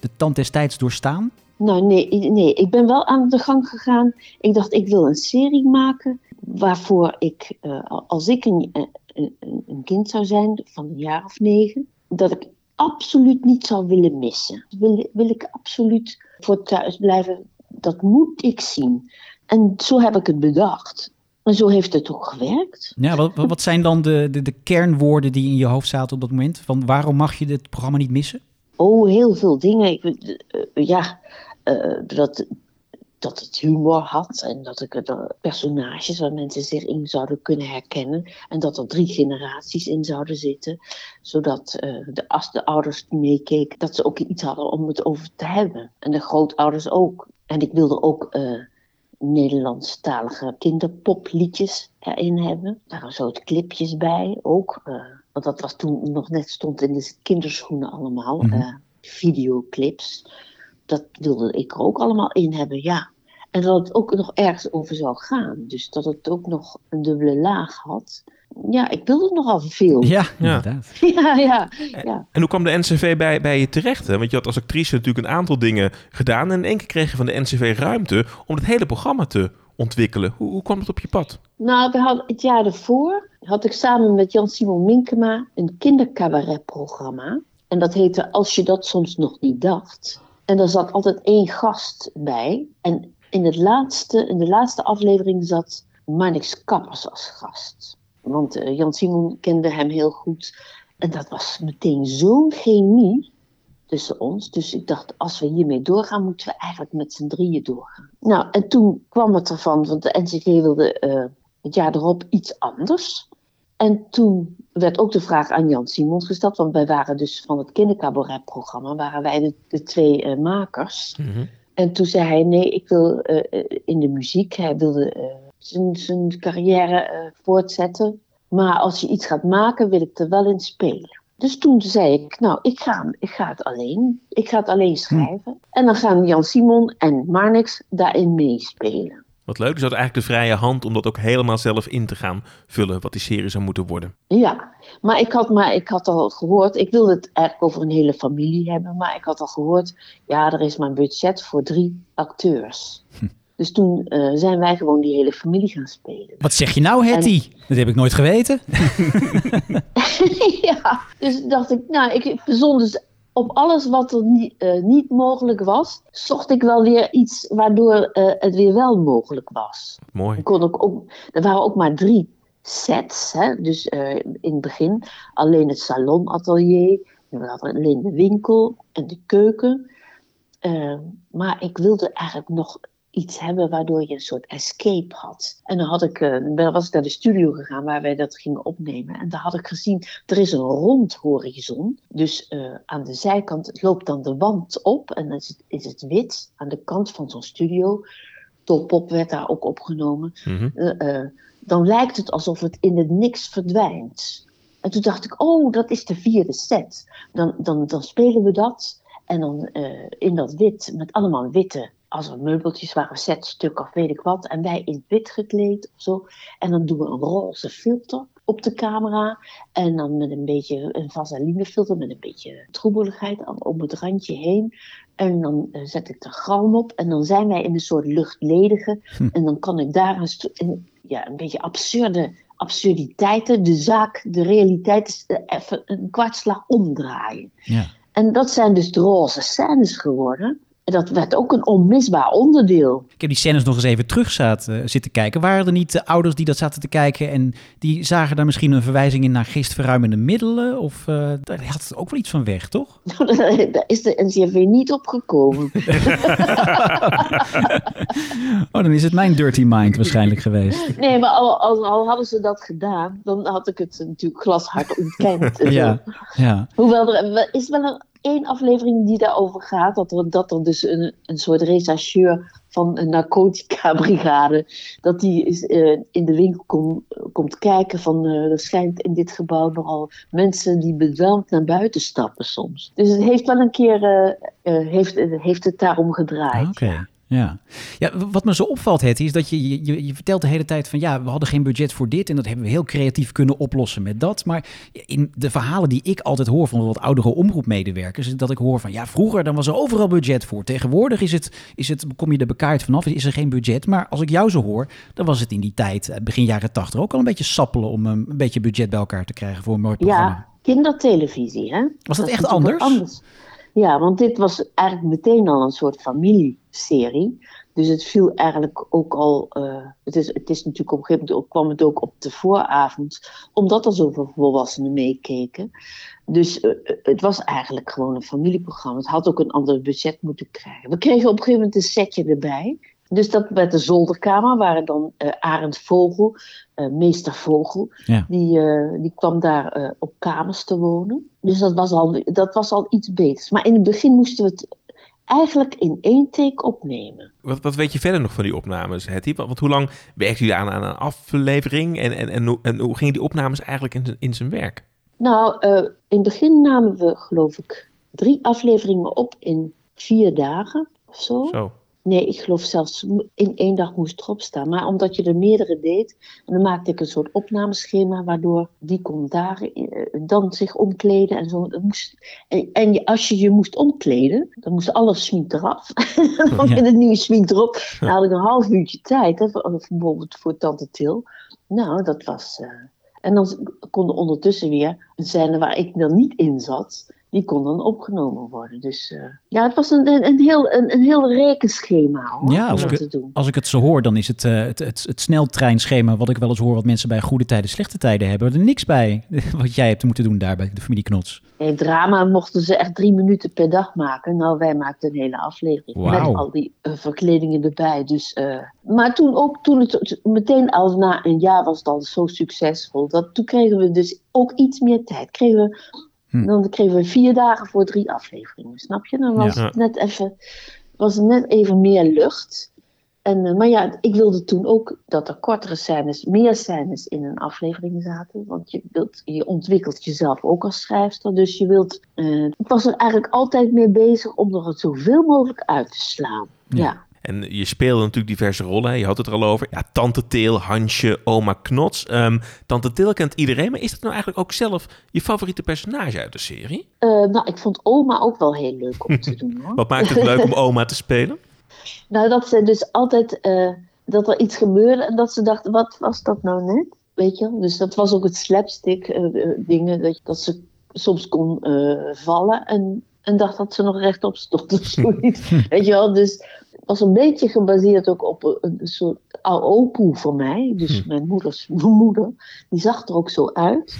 de tand des tijds doorstaan?
Nou, nee, i- nee, ik ben wel aan de gang gegaan. Ik dacht, ik wil een serie maken waarvoor ik, eh, als ik een, eh, een, een kind zou zijn van een jaar of negen, dat ik absoluut niet zou willen missen. Wil, wil ik absoluut voor thuis blijven, dat moet ik zien. En zo heb ik het bedacht. En zo heeft het ook gewerkt.
Ja, wat, wat wat zijn dan de, de, de kernwoorden die in je hoofd zaten op dat moment? Van waarom mag je dit programma niet missen?
Oh, heel veel dingen. Ik, weet- eh, eh, ja, eh, dat, dat het humor had en dat ik er personages waar mensen zich in zouden kunnen herkennen. En dat er drie generaties in zouden zitten. Zodat eh, de, als de ouders meekeken, dat ze ook iets hadden om het over te hebben. En de grootouders ook. En ik wilde ook eh, Nederlandstalige kinderpopliedjes erin hebben. Daar waren soort clipjes bij ook. eh, want dat was toen nog net stond in de kinderschoenen allemaal.
Mhm.
eh, videoclips. Dat wilde ik er ook allemaal in hebben, ja. En dat het ook nog ergens over zou gaan. Dus dat het ook nog een dubbele laag had. Ja, ik wilde nogal veel. *laughs*
Ja, inderdaad.
ja, ja. ja.
En hoe kwam de NCV bij, bij je terecht? Hè? Want je had als actrice natuurlijk een aantal dingen gedaan. En in één keer kreeg je van de NCV ruimte om het hele programma te ontwikkelen. Hoe, hoe kwam dat op je pad?
Nou, we hadden, het jaar daarvoor had ik samen met Jan-Simon Minkema een kindercabaretprogramma. En dat heette Als je dat soms nog niet dacht. En daar zat altijd één gast bij. En in, het laatste, in de laatste aflevering zat Marnix Kappers als gast. Want eh, Jan-Simon kende hem heel goed. En dat was meteen zo'n chemie. tussen ons. Dus ik dacht, als we hiermee doorgaan, moeten we eigenlijk met z'n drieën doorgaan. Nou, en toen kwam het ervan, want de NCG wilde eh, het jaar erop iets anders. En toen werd ook de vraag aan Jan Simons gesteld, want wij waren dus van het kindercabaret-programma, waren wij de, de twee eh, makers. En toen zei hij: Nee, ik wil eh, eh, in de muziek. Hij wilde eh, zijn- zijn carrière eh, voortzetten. Maar als je iets gaat maken, wil ik er wel in spelen. Dus toen zei ik: Nou, ik ga, ik ga het alleen. Ik ga het alleen schrijven. En dan gaan Jan Simon en Marnix daarin meespelen.
Wat leuk, dus dat eigenlijk de vrije hand om dat ook helemaal zelf in te gaan vullen, wat die serie zou moeten worden.
Ja, maar ik, had maar ik had al gehoord, ik wilde het eigenlijk over een hele familie hebben, maar ik had al gehoord, ja, er is maar een budget voor drie acteurs. Dus toen eh, zijn wij gewoon die hele familie gaan spelen. *laughs*
Wat zeg je nou, Hetty? Dat heb ik nooit geweten.
ja, dus dacht ik, nou, ik verzon dus op alles wat er nie- eh, niet mogelijk was, zocht ik wel weer iets waardoor eh, het weer wel mogelijk was.
Mooi.
Ik Kon ook, ook, er waren ook maar drie sets, hè? dus eh, in het begin alleen het salonatelier, dan hadden we alleen de winkel en de keuken. Eh, maar ik wilde eigenlijk nog iets hebben waardoor je een soort escape had. En dan had ik, eh, dan was ik naar de studio gegaan waar wij dat gingen opnemen. En daar had ik gezien, er is een rond horizon. Dus eh, aan de zijkant loopt dan de wand op en dan is het, is het wit aan de kant van zo'n studio. Top-op werd daar ook opgenomen. Eh, eh, dan lijkt het alsof het in het niks verdwijnt. En toen dacht ik, oh, dat is de vierde set. Dan, dan, dan spelen we dat. En dan eh, in dat wit, met allemaal witte, als er meubeltjes waren, setstuk of weet ik wat. En wij in het wit gekleed of zo. En dan doen we een roze filter op de camera. En dan met een beetje een vaselinefilter, met een beetje troebeligheid om- om het randje heen. En dan eh, zet ik de galm op. En dan zijn wij in een soort luchtledige. En dan kan ik daar een, stu- een- ja, een beetje absurde absurditeiten, de zaak, de realiteit, is, eh, even een kwartslag omdraaien. En dat zijn dus de roze scènes geworden. En dat werd ook een onmisbaar onderdeel. *laughs*
Ik heb die scènes nog eens even terug zaten- zitten kijken. Waren er niet eh, ouders die dat zaten te kijken en die zagen daar misschien een verwijzing in naar geestverruimende middelen? Of eh, daar had het ook wel iets van weg, toch?
Daar is de NCRV niet opgekomen.
Oh, dan is het mijn dirty mind waarschijnlijk geweest.
Nee, maar al, al, al hadden ze dat gedaan, dan had ik het natuurlijk glashard
*laughs*
ontkend. eh.
Ja, ja.
Hoewel er wel- is wel een, één aflevering die daarover gaat. Dat er, dat er dus een, een soort rechercheur van een narcotica-brigade. dat die is, eh, in de winkel kom- komt kijken. van eh, er schijnt in dit gebouw nogal mensen die bedwelmd naar buiten stappen soms. Dus het heeft wel een keer. eh, eh, heeft, heeft het daarom gedraaid.
Oké. Ja. ja, w- wat me zo opvalt, Hetty, is dat je, je, je vertelt de hele tijd van ja, we hadden geen budget voor dit en dat hebben we heel creatief kunnen oplossen met dat. Maar in de verhalen die ik altijd hoor van wat oudere omroepmedewerkers, is dat ik hoor van ja, vroeger dan was er overal budget voor. Tegenwoordig is het, is het, kom je er bekaard vanaf, is er geen budget. Maar als ik jou zo hoor, dan was het in die tijd, eh, begin jaren tachtig, ook al een beetje sappelen om ehm, een, een beetje budget bij elkaar te krijgen voor een mooi programma.
Ja, kindertelevisie, hè?
Was dat
is
echt
natuurlijk wat Ja, want dit was eigenlijk meteen al een soort familieserie. Dus het viel eigenlijk ook al. eh, het, is, het is natuurlijk op een gegeven moment ook- kwam het ook op de vooravond, omdat er zoveel volwassenen meekeken. Dus eh, eh, het was eigenlijk gewoon een familieprogramma. Het had ook een ander budget moeten krijgen. We kregen op een gegeven moment een setje erbij. Dus dat met de zolderkamer waren dan eh, Arend Vogel, eh, meester Vogel.
Ja.
Die, eh, die kwam daar eh, op kamers te wonen. Dus dat was, al, dat was al iets beters. Maar in het begin moesten we het eigenlijk in één take opnemen.
Wat, wat weet je verder nog van die opnames, Hetty? Want, want hoe lang werkte jullie aan, aan een aflevering en, en, en, hoe, en hoe gingen die opnames eigenlijk in, zijn- in zijn werk?
Nou, eh, in het begin namen we, geloof ik, drie afleveringen op in vier dagen of zo.
Zo.
Nee, ik geloof zelfs mo- in één dag moest erop staan. Maar omdat je er meerdere deed, en dan maakte ik een soort opnameschema waardoor die kon daar eh, dan zich omkleden en zo. Dat moest, en en je- als je je moest omkleden, dan moest alles smink eraf. *laughs* dan
Ja.
in het nieuwe smink erop. Dan had ik een half uurtje tijd, hè, voor- bijvoorbeeld voor Tante Til. Nou, dat was. eh, en dan konden ondertussen weer een scène waar ik dan niet in zat. die kon dan opgenomen worden. Dus eh, ja, het was een, een, een heel, een, een heel rekenschema hoor,
Ja,
om
als
dat
ik,
te
het-
doen.
als ik het zo hoor, dan is het, eh, het, het, het sneltreinschema, wat ik wel eens hoor, wat mensen bij goede tijden, slechte tijden hebben, er niks bij. *laughs* Wat jij hebt moeten doen daar bij de familie Knots.
Nee, drama mochten ze echt drie minuten per dag maken. Nou, wij maakten een hele aflevering
Wauw.
met al die eh, verkledingen erbij. Dus, eh, maar toen ook, toen het meteen al na een jaar was het al zo succesvol. Dat, toen kregen we dus ook iets meer tijd. Kregen we, Dan kregen we vier dagen voor drie afleveringen, snap je? Dan was
Ja.
het net even, was er net even meer lucht. En, eh, maar ja, ik wilde toen ook dat er kortere scènes, meer scènes in een aflevering zaten. Want je, wilt, je ontwikkelt jezelf ook als schrijfster. Dus je wilt. eh, ik was er eigenlijk altijd mee bezig om er het zoveel mogelijk uit te slaan. Ja.
En je speelde natuurlijk diverse rollen. hè. Je had het er al over. Ja, Tante Til, Hansje, Oma Knots. Ehm, Tante Til kent iedereen. Maar is dat nou eigenlijk ook zelf je favoriete personage uit de serie?
Eh, nou, ik vond oma ook wel heel leuk om te doen hoor.
Wat maakt het leuk om oma te spelen?
Nou, dat ze dus altijd eh, dat er iets gebeurde en dat ze dachten, wat was dat nou net? Weet je wel? Dus dat was ook het slapstick eh, eh, dingen, dat, dat ze soms kon eh, vallen en, en dacht dat ze nog rechtop stond of zoiets. Weet je wel? Dus het was een beetje gebaseerd ook op een, een soort oude opoe van mij. Dus mijn moeders mijn moeder, *laughs* die zag er ook zo uit.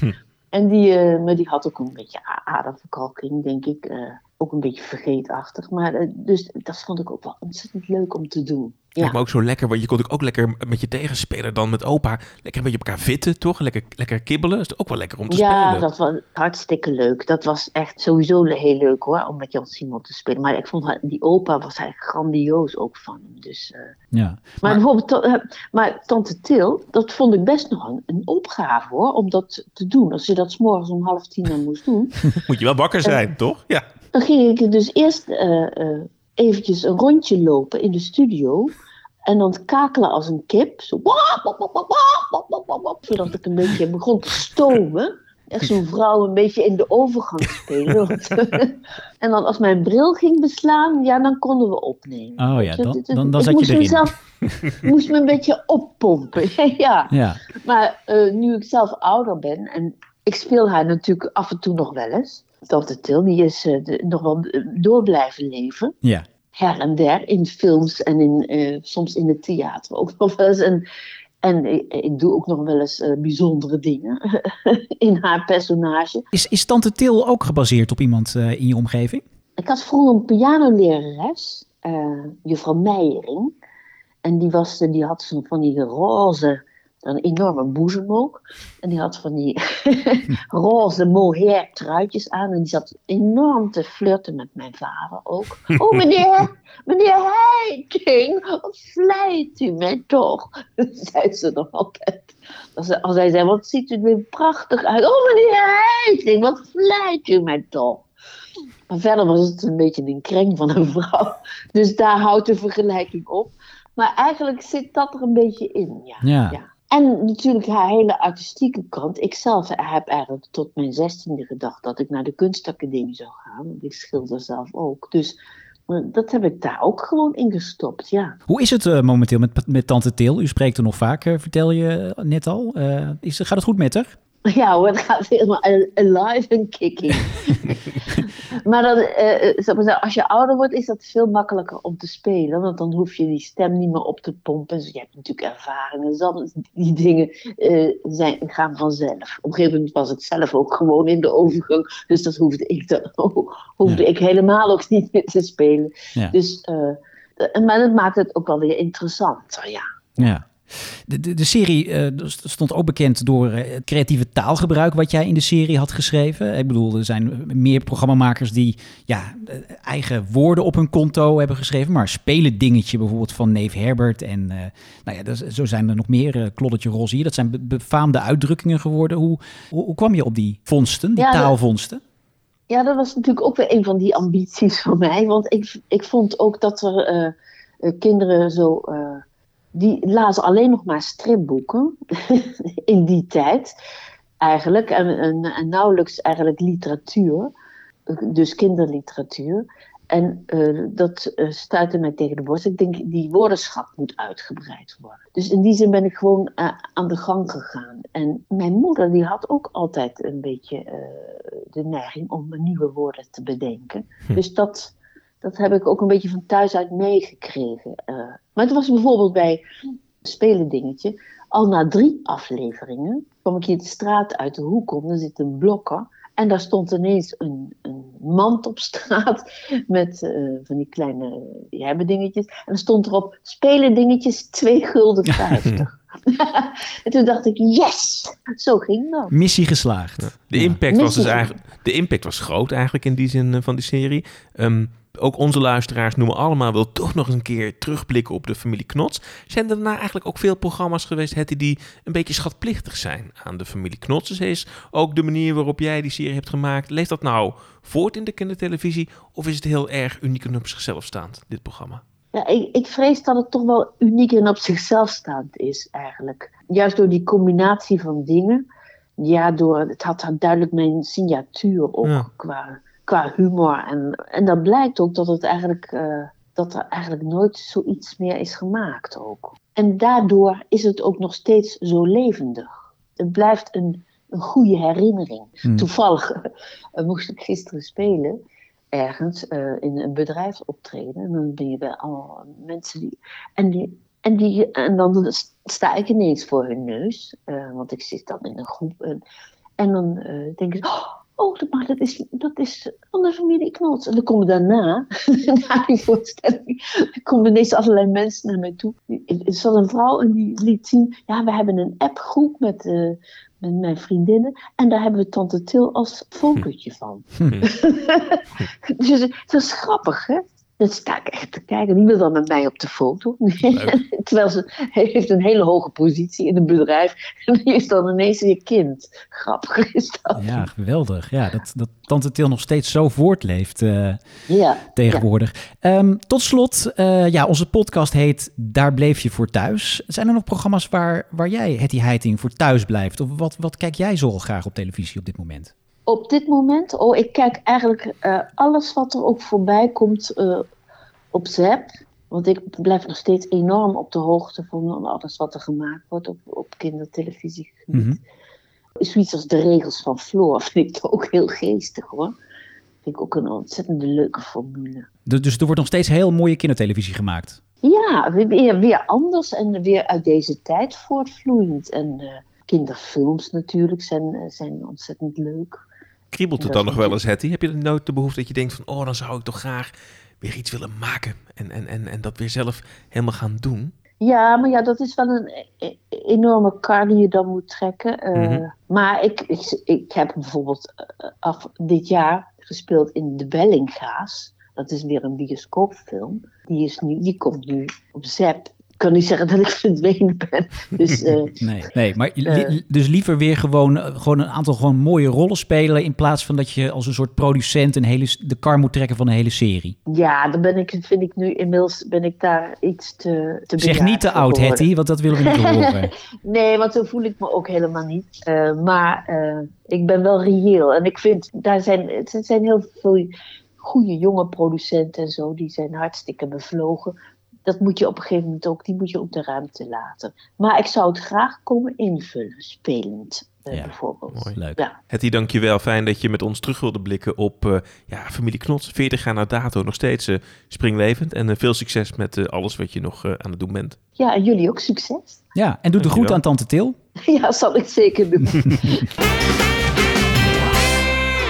En die, eh, maar die had ook een beetje a- aderverkalking, denk ik. eh, ook een beetje vergeetachtig. Maar eh, dus dat vond ik ook wel ontzettend leuk om te doen.
Ja.
Ja,
maar ook zo lekker, want je kon ook lekker met je tegenspeler dan met opa lekker een beetje op elkaar vitten, toch? Lekker, lekker kibbelen. Is het ook wel lekker om te
ja
spelen?
dat was hartstikke leuk. Dat was echt sowieso le- heel leuk hoor, om met Jan Simon te spelen. Maar ik vond haar- die opa was eigenlijk grandioos ook van hem. Dus, eh,
Ja.
maar, bijvoorbeeld, to- eh, maar Tante Til, dat vond ik best nog een, een opgave hoor, om dat te doen. Als je dat s'morgens om half tien dan moest doen.
Moet je wel wakker zijn, toch? Ja.
Dan ging ik dus eerst eh, eh, eventjes een rondje lopen in de studio. En dan kakelen als een kip. Zo, wap, wap, wap, wap, wap, wap, wap, wap, zodat ik een beetje begon te stomen. Echt zo'n vrouw een beetje in de overgang
*laughs*
spelen. *laughs* en dan als mijn bril ging beslaan, ja, dan konden we opnemen.
Oh ja, dan,
Ik
dan, dan zat
moest
je erin.
mezelf- Ik moest me een beetje oppompen. *laughs* ja.
Ja.
Maar eh, nu ik zelf ouder ben en ik speel haar natuurlijk af en toe nog wel eens. Tante Til, die is eh, de- nog wel eh, door blijven leven.
Ja.
Her en der, in films en in, eh, soms in het theater ook *laughs* nog wel eens. En, en ik, ik doe ook nog wel eens eh, bijzondere dingen *laughs* in haar personage.
Is, is Tante Til ook gebaseerd op iemand eh, in je omgeving?
Ik had vroeger een pianolerares, eh juffrouw Meijering. En die, was, eh, die had zo'n van die roze, een enorme boezem ook. En die had van die *laughs* roze mohair truitjes aan. En die zat enorm te flirten met mijn vader ook. Oh meneer, meneer Heiting, wat vleit u mij toch? *laughs* zei ze nog altijd. Als, ze- als hij zei, wat ziet u er weer prachtig uit. Oh meneer Heiting, wat vleit u mij toch? Maar verder was het een beetje een kreng van een vrouw. Dus daar houdt de vergelijking op. Maar eigenlijk zit dat er een beetje in, ja.
Ja.
En natuurlijk haar hele artistieke kant. Ik zelf heb eigenlijk tot mijn zestiende gedacht dat ik naar de kunstacademie zou gaan. Want ik schilder zelf ook. Dus eh, dat heb ik daar ook gewoon in gestopt, ja.
Hoe is het eh, momenteel met, met Tante Til? U spreekt er nog vaker, vertel je net al. Eh, is, gaat het goed met haar?
*laughs* Ja hoor, het gaat helemaal al- alive en kicking. maar dan, eh, eh, zal ik maar zeggen, als je ouder wordt, is dat veel makkelijker om te spelen. Want dan hoef je die stem niet meer op te pompen. Dus je hebt natuurlijk ervaringen. Dus Dan, die dingen eh, zijn, gaan vanzelf. Op een gegeven moment was ik zelf ook gewoon in de overgang. Dus dat hoefde ik, dan, *laughs* hoefde ik helemaal ook niet meer te spelen.
Ja.
Dus, eh, eh, maar dat maakt het ook wel weer interessanter, ja.
Ja. De, de, de serie eh, st- stond ook bekend door eh, het creatieve taalgebruik wat jij in de serie had geschreven. Ik bedoel, er zijn meer programmamakers die ja, eh, eigen woorden op hun konto hebben geschreven. Maar spelen dingetje bijvoorbeeld van Neef Herbert. En eh, nou ja, dat is- zo zijn er nog meer eh kloddertje roze hier. Dat zijn be- befaamde uitdrukkingen geworden. Hoe, hoe, hoe kwam je op die vondsten, die
Ja, dat-
taalvondsten?
Ja, dat was natuurlijk ook weer een van die ambities van mij. Want ik, ik vond ook dat er eh, eh, kinderen zo. eh, die lazen alleen nog maar stripboeken *laughs* in die tijd, eigenlijk. En, en, en nauwelijks eigenlijk literatuur, dus kinderliteratuur. En eh, dat eh, stuitte mij tegen de borst. Ik denk, die woordenschat moet uitgebreid worden. Dus in die zin ben ik gewoon eh, aan de gang gegaan. En mijn moeder, die had ook altijd een beetje eh, de neiging om nieuwe woorden te bedenken. Dus dat, dat heb ik ook een beetje van thuis uit meegekregen. Eh, maar het was bijvoorbeeld bij Spelen Dingetje. Al na drie afleveringen kwam ik hier de straat uit de hoek om. Er zit een blokker. En daar stond ineens een, een mand op straat *laughs* met eh, van die kleine dingetjes. En er stond erop, spelen dingetjes 2 gulden 50. *laughs* en toen dacht ik, yes! Zo ging dat.
Missie geslaagd.
De impact, was dus
Missie.
eigenlijk, de impact was groot eigenlijk in die zin eh, van die serie. Ehm, ook onze luisteraars noemen allemaal wil toch nog eens een keer terugblikken op de familie Knots. Zijn er daarna eigenlijk ook veel programma's geweest Hetty, die een beetje schatplichtig zijn aan de familie Knots? Dus is ook de manier waarop jij die serie hebt gemaakt, leeft dat nou voort in de kindertelevisie? Of is het heel erg uniek en op zichzelf staand, dit programma?
Ja, ik, ik vrees dat het toch wel uniek en op zichzelf staand is eigenlijk. Juist door die combinatie van dingen. Ja, door, het had duidelijk mijn signatuur ook
Ja.
qua, qua humor. En, en dat blijkt ook dat, het eigenlijk, eh, dat er eigenlijk nooit zoiets meer is gemaakt ook. En daardoor is het ook nog steeds zo levendig. Het blijft een, een goede herinnering.
Hmm.
Toevallig *laughs* eh, moest ik gisteren spelen ergens eh, in een bedrijf optreden. En dan ben je bij allemaal mensen die. En, die, en, die, en dan sta ik ineens voor hun neus, eh, want ik zit dan in een groep. En, en dan eh denken ze. "Oh, Oh, dat- maar dat is, dat is van de familie Knots. En dan komen daarna, *laughs* na die voorstelling, er komen ineens allerlei mensen naar mij toe. Er zat een vrouw en die liet zien, ja, we hebben een appgroep met, eh, met mijn vriendinnen. En daar hebben we Tante Til als voorbeeldje van. *laughs* dus het was grappig, hè? Dan sta ik echt te kijken. Die wil dan met mij op de foto. *laughs* Terwijl ze heeft een hele hoge positie in een bedrijf. *laughs* En die is dan ineens weer kind. Grappig is dat.
Ja, geweldig. Ja, dat, dat Tante Til nog steeds zo voortleeft eh,
Ja.
tegenwoordig. Ehm, tot slot, eh, ja, onze podcast heet Daar bleef je voor thuis. Zijn er nog programma's waar, waar jij, Hetty Heiting, voor thuis blijft? Of wat, wat kijk jij zo graag op televisie op dit moment?
Op dit moment, oh, ik kijk eigenlijk eh, alles wat er ook voorbij komt eh, op Zap. Want ik blijf nog steeds enorm op de hoogte van alles wat er gemaakt wordt op, op kindertelevisie. Zoiets als de regels van Floor *laughs* vind ik ook heel geestig hoor. Vind ik ook een ontzettend leuke formule.
Du- Dus er wordt nog steeds heel mooie kindertelevisie gemaakt.
Ja, weer, weer anders en weer uit deze tijd voortvloeiend. En eh, kinderfilms natuurlijk zijn, eh, zijn ontzettend leuk.
Kriebelt het
Dat
dan nog wel eens, Hetty? Heb je dan nooit de behoefte dat je denkt van... oh, dan zou ik toch graag weer iets willen maken... en, en, en, en dat weer zelf helemaal gaan doen?
Ja, maar ja, dat is wel een e- e- enorme kar die je dan moet trekken. Eh,
Mhm.
Maar ik, ik, ik heb bijvoorbeeld eh, af, dit jaar gespeeld in De Bellinga's. Dat is weer een bioscoopfilm. Die, is nu, die komt nu op Zep. Ik kan niet zeggen dat ik verdwenen ben.
*laughs*
Dus eh,
Nee, nee maar li-
Eh.
dus liever weer gewoon, eh, gewoon een aantal gewoon mooie rollen spelen... in plaats van dat je als een soort producent een hele, s- de kar moet trekken van een hele serie.
ja, dan ben ik, vind ik nu inmiddels ben ik daar iets te, te
Zeg
bejaard
niet te
voor
oud,
geworden.
Hetty, want dat willen we niet
*laughs*
horen.
nee, want zo voel ik me ook helemaal niet. Eh, maar eh, ik ben wel reëel. En ik vind, daar zijn, het zijn heel veel goede jonge producenten en zo. Die zijn hartstikke bevlogen. Dat moet je op een gegeven moment ook, die moet je op de ruimte laten. Maar ik zou het graag komen invullen, spelend eh, bijvoorbeeld.
Leuk.
Ja.
Hetty, dankjewel. Fijn dat je met ons terug wilde blikken op eh, ja, familie Knots. 40 jaar na dato, nog steeds eh, springlevend. En eh, veel succes met eh, alles wat je nog eh, aan het doen bent.
ja, en jullie ook succes. *laughs*
Ja, en doe de
Dankjewel.
groet aan Tante Til.
ja, zal ik zeker doen.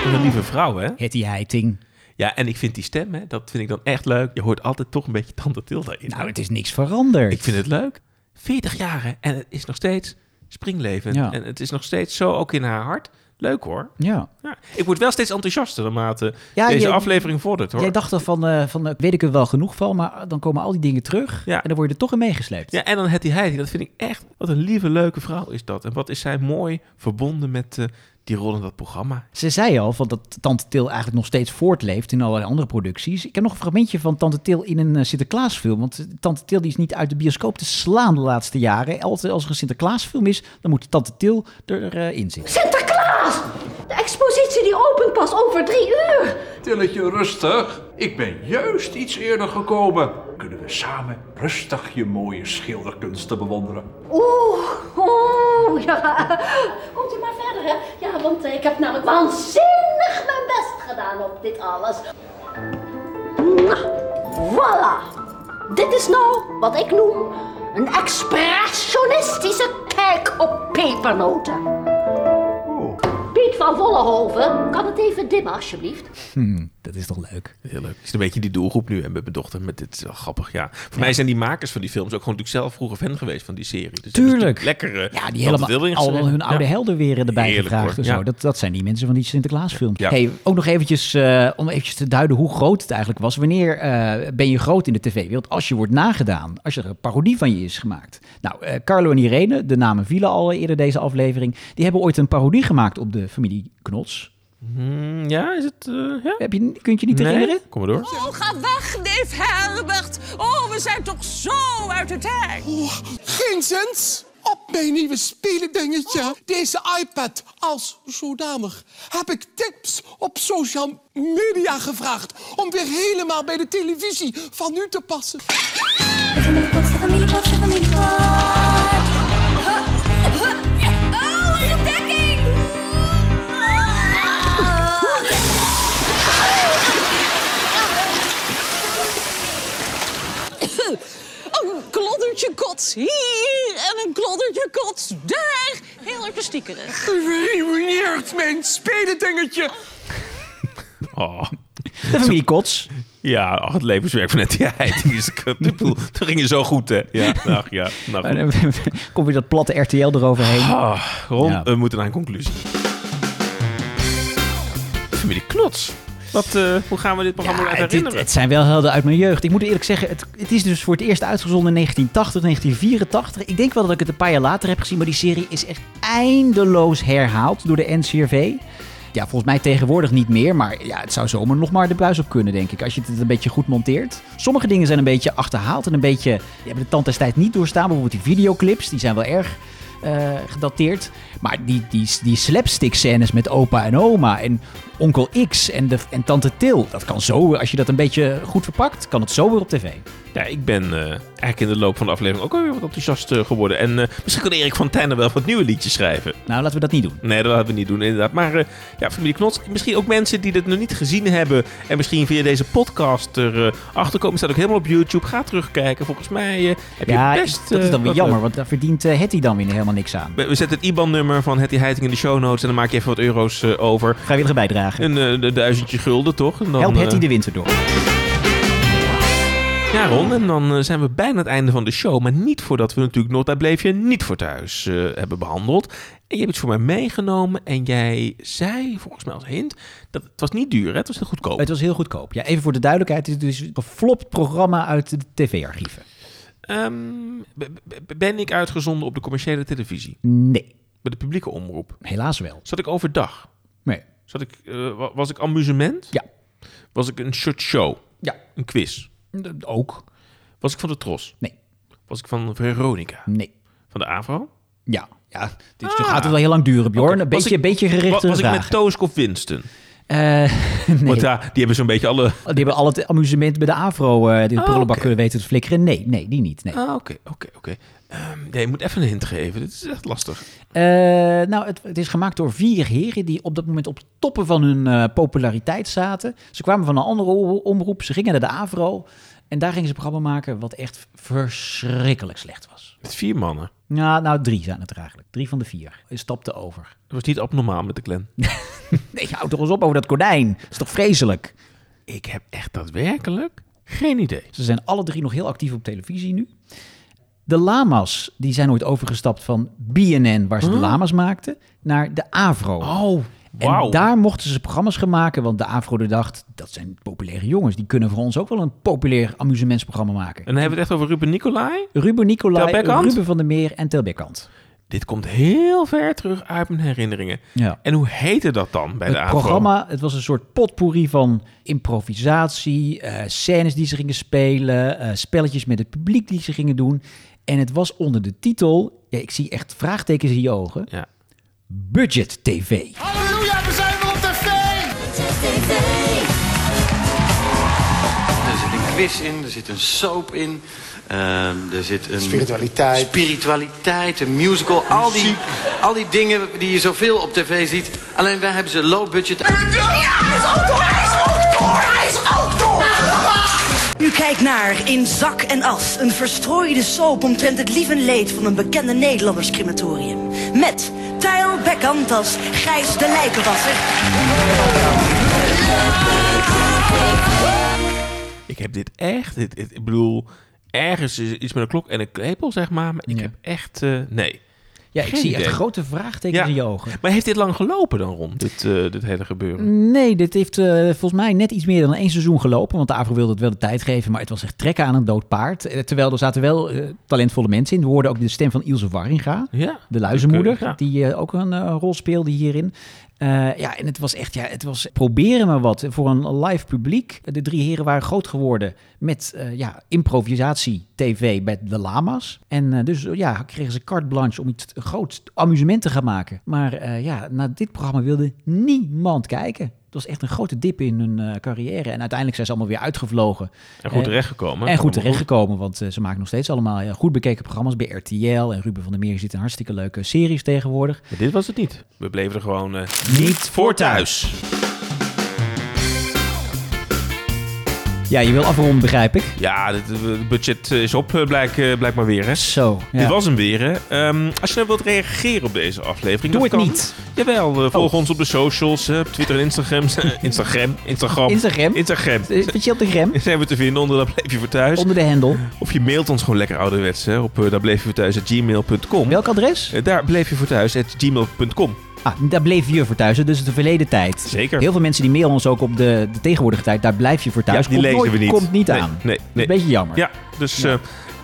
Wat een lieve vrouw, hè?
Hetty Heiting.
Ja, en ik vind die stem, hè, dat vind ik dan echt leuk. Je hoort altijd toch een beetje Tante Tilda in.
Nou, het is niks veranderd.
Ik vind het leuk. 40 jaar hè, en het is nog steeds springlevend.
Ja.
En het is nog steeds zo, ook in haar hart. Leuk hoor.
Ja.
Ik word wel steeds enthousiaster naarmate
Ja,
deze
je-
aflevering vordert hoor.
Jij dacht al van, eh, van eh, weet ik er wel genoeg van, maar dan komen al die dingen terug
Ja.
en dan word je er toch in meegesleept.
Ja, en dan Hetty Heiding, dat vind ik echt, wat een lieve, leuke vrouw is dat. En wat is zij mooi verbonden met eh, die rol in dat programma.
Ze zei al van dat Tante Til eigenlijk nog steeds voortleeft in allerlei andere producties. Ik heb nog een fragmentje van Tante Til in een eh, Sinterklaasfilm. Want eh, Tante Til die is niet uit de bioscoop te slaan de laatste jaren. Altijd als er een Sinterklaasfilm is, dan moet Tante Til erin zitten.
Sinterklaas! De expositie die opent pas over drie uur.
Tilletje, rustig. Ik ben juist iets eerder gekomen. Kunnen we samen rustig je mooie schilderkunsten bewonderen?
Oeh, oeh, ja. Komt u maar verder, hè? Ja, want eh, ik heb namelijk waanzinnig
gedaan op dit alles. Nou, voilà. Dit is nou wat ik noem een expressionistische kijk op pepernoten. Piet van Vollenhoven, kan het even dimmen alsjeblieft?
dat is toch leuk?
Heel leuk. Het is een beetje die doelgroep nu en met mijn dochter. Met dit is wel grappig, ja. Voor mij zijn die makers van die films ook gewoon natuurlijk zelf vroeger fan geweest van die serie. Dus
Tuurlijk.
Lekkere.
Ja, die helemaal al hun oude helden weer erbij
Heerlijk,
gevraagd.
hoor.
en zo.
Ja.
Dat, dat zijn die mensen van die Sinterklaasfilms.
Ja.
Hey, ook nog eventjes, eh, om eventjes te duiden hoe groot het eigenlijk was. Wanneer eh, ben je groot in de tv-wereld? Als je wordt nagedaan. Als er een parodie van je is gemaakt. Nou, eh, Carlo en Irene, de namen vielen al eerder deze aflevering. Die hebben ooit een parodie gemaakt op de familie Knots.
Hmm, ja, is het... eh, ja?
Heb je, kun je je niet
Nee?
herinneren?
Kom maar door.
Oh, ga weg, neef Herbert. Oh, we zijn toch zo uit het hek.
Geensens! Op mijn nieuwe spelendingetje, deze iPad als zodanig, heb ik tips op social media gevraagd om weer helemaal bij de televisie van nu te passen.
Oh, een ontdekking.
*laughs* Oh, een kloddertje kots hier en een kloddertje kots daar. Heel erg stiekerig.
Geruineerd mijn spelendingetje!
Oh.
De familie
*laughs*
Kots.
Ja, ach, het levenswerk van Nettie Heid. Die is dubbel. Dat ging je zo goed, hè?
*laughs*
Ja, ach ja. Nou,
Maar *laughs*
goed.
dan Komt weer Eh, dat platte RTL eroverheen.
Ah, Ron,
Ja.
we moeten naar een conclusie. Familie Knots. Wat, eh, hoe gaan we dit programma
Ja,
laten
het,
herinneren?
het- het zijn wel helden uit mijn jeugd. Ik moet eerlijk zeggen, het, het is dus voor het eerst uitgezonden in 1980, 1984. Ik denk wel dat ik het een paar jaar later heb gezien, maar die serie is echt eindeloos herhaald door de NCRV. Ja, volgens mij tegenwoordig niet meer, maar ja, het zou zomaar nog maar de buis op kunnen, denk ik. Als je het een beetje goed monteert. Sommige dingen zijn een beetje achterhaald en een beetje... Die hebben de tand des tijd niet doorstaan. Bijvoorbeeld die videoclips, die zijn wel erg eh, gedateerd. Maar die, die, die slapstick scènes met opa en oma en onkel X en, de, en tante Til. Dat kan zo, als je dat een beetje goed verpakt, kan het zo weer op tv.
Ja, ik ben eh, eigenlijk in de loop van de aflevering ook alweer wat enthousiast eh, geworden. En eh, misschien kan Erik van Tijnen wel wat nieuwe liedjes schrijven.
Nou, laten we dat niet doen.
Nee, dat laten we niet doen, inderdaad. Maar eh, ja, familie Knots, misschien ook mensen die dit nog niet gezien hebben... en misschien via deze podcast erachter komen. staat ook helemaal op YouTube. Ga terugkijken. Volgens mij eh, heb
ja,
je best...
dat is
eh,
dan weer
wat
jammer,
leuk.
want daar verdient eh, Hetty dan weer helemaal niks aan.
We, we zetten het IBAN-nummer van Hetty Heiting in de show notes... en dan maak je even wat euro's eh, over.
Vrijwillige bijdrage.
Een eh, de duizendje gulden, toch? En dan,
Help
eh,
Hetty de winter door.
Ja, Ron, en dan eh, zijn we bijna het einde van de show. Maar niet voordat we natuurlijk Nota Bleef Je Niet voor Thuis eh, hebben behandeld. En je hebt iets voor mij meegenomen. En jij zei, volgens mij als hint, dat het was niet duur, hè? het was heel goedkoop.
Het was heel goedkoop. Ja, even voor de duidelijkheid, het is dus een geflopt programma uit de tv-archieven.
Ehm, b- b- ben ik uitgezonden op de commerciële televisie?
Nee.
Bij de publieke omroep?
Helaas wel.
Zat ik overdag?
Nee.
Zat ik, eh, wa- was ik amusement?
Ja.
Was ik een short show?
Ja.
Een quiz?
D- Ook.
Was ik van de Tros?
Nee.
Was ik van Veronica?
Nee.
Van de AVRO?
Ja. ja dit gaat het wel heel lang duren, Bjorn. Een beetje, beetje gericht
Was ik
vraag.
met Toosk of Winston?
Eh, nee.
Want daar, die hebben zo'n beetje alle...
Die hebben al het amusement bij de Avro, eh de
Ah,
prullenbak
oké.
kunnen weten te flikkeren. Nee, nee, die niet. Nee.
Ah, oké, oké, oké. Ehm, Nee, je moet even een hint geven. Dit is echt lastig.
Eh, nou, het, het is gemaakt door vier heren die op dat moment op toppen van hun eh, populariteit zaten. Ze kwamen van een andere o- omroep, ze gingen naar de Avro. En daar gingen ze een programma maken wat echt verschrikkelijk slecht was.
Met vier mannen.
Nou, nou, drie zijn het er eigenlijk. Drie van de vier stapten over.
Dat was niet abnormaal met de clan.
Nee, houd toch eens op over dat konijn. Dat is toch vreselijk?
Ik heb echt daadwerkelijk geen idee.
Ze zijn alle drie nog heel actief op televisie nu. De lama's die zijn ooit overgestapt van BNN, waar ze de
Huh?
lama's maakten, naar de Avro.
Oh,
En
wauw.
daar mochten ze programma's gaan maken, want de Avro dacht, dat zijn populaire jongens. Die kunnen voor ons ook wel een populair amusementsprogramma maken.
En dan hebben we het echt over Ruben Nicolai.
Ruben Nicolai,
Tel Beckhand?
Ruben van der Meer en Tel Beckhand.
Dit komt heel ver terug uit mijn herinneringen.
Ja.
En hoe heette dat dan bij de
het
AVRO?
programma, het was een soort potpourri van improvisatie, eh, scènes die ze gingen spelen, eh, spelletjes met het publiek die ze gingen doen. En het was onder de titel, ja, ik zie echt vraagtekens in je ogen, Budget TV.
Halleluja, we zijn weer op tv.
Dan zit ik
quiz in, er zit een soap in. ehm, er zit een...
Spiritualiteit.
Spiritualiteit, een musical. Al die, al die dingen die je zoveel op tv ziet. Alleen wij hebben ze low budget.
U kijkt naar In Zak en As, een verstrooide soap omtrent het lief en leed van een bekende Nederlanders crematorium. Met Tijl Bekkant als Gijs de Lijkenwasser.
Ik heb dit echt... dit- dit- ik bedoel, ergens is iets met een klok en een klepel, zeg maar. Maar ik heb echt... eh, nee.
Ja, ik
Geen
zie echt
idee.
grote vraagtekens in je ogen. Mm.
Maar heeft dit lang gelopen dan, Ron? Dit, eh, dit hele gebeuren?
Nee, dit heeft eh, volgens mij net iets meer dan één seizoen gelopen. Want de AVRO wilde het wel de tijd geven, maar het was echt trekken aan een dood paard. Eh, Terwijl er zaten wel eh, talentvolle mensen in. We hoorden ook de stem van Ilse Warringa,
Ja.
de luizenmoeder,
Oké, ja.
die eh, ook een eh, rol speelde hierin. Eh, ja, en het was echt, ja, het was proberen maar wat voor een live publiek. De drie heren waren groot geworden met eh, ja, improvisatie tv bij de Lama's. En eh, dus ja, kregen ze carte blanche om iets groot amusement te gaan maken. Maar eh, ja, naar dit programma wilde niemand kijken. Het was echt een grote dip in hun eh, carrière. En uiteindelijk zijn ze allemaal weer uitgevlogen.
En goed
Eh,
terechtgekomen.
En goed
Allemaal goed.
terechtgekomen gekomen, want eh, ze maken nog steeds allemaal eh, goed bekeken programma's bij RTL. En Ruben van der Meer zit in hartstikke leuke series tegenwoordig.
Maar dit was het niet. We bleven er gewoon eh,
Niet
voor thuis.
Ja, je wil afronden, begrijp ik.
Ja, dit- het budget eh, is op, eh, blijk, eh, blijkbaar weer. Hè?
Zo. ja.
Dit was hem weer. Hè? Ehm, als je nou wilt reageren op deze aflevering,
Doe
dan
het
kan-
niet. Oh.
Jawel, eh, volg ons op de socials, eh, op Twitter en Instagram. *laughs* Instagram. Instagram.
Instagram.
Instagram.
Vind je op de gram?
Zijn we te vinden onder dat bleef je voor thuis.
Onder de hendel.
Of je mailt ons gewoon lekker ouderwets hè, op uh, bleef je voor thuis gmail.com.
Welk adres?
Eh, daar bleef je voor thuis gmail.com.
Ah, daar bleef je voor thuis, hè? dus het is de verleden tijd.
Zeker.
Heel veel mensen die mailen ons ook op de, de tegenwoordige tijd, daar blijf je voor thuis.
Ja, die
Dus komt
lezen we
nooit-
niet.
Komt niet
Nee,
aan. Dus
Nee, nee.
Een beetje jammer.
Ja, dus eh,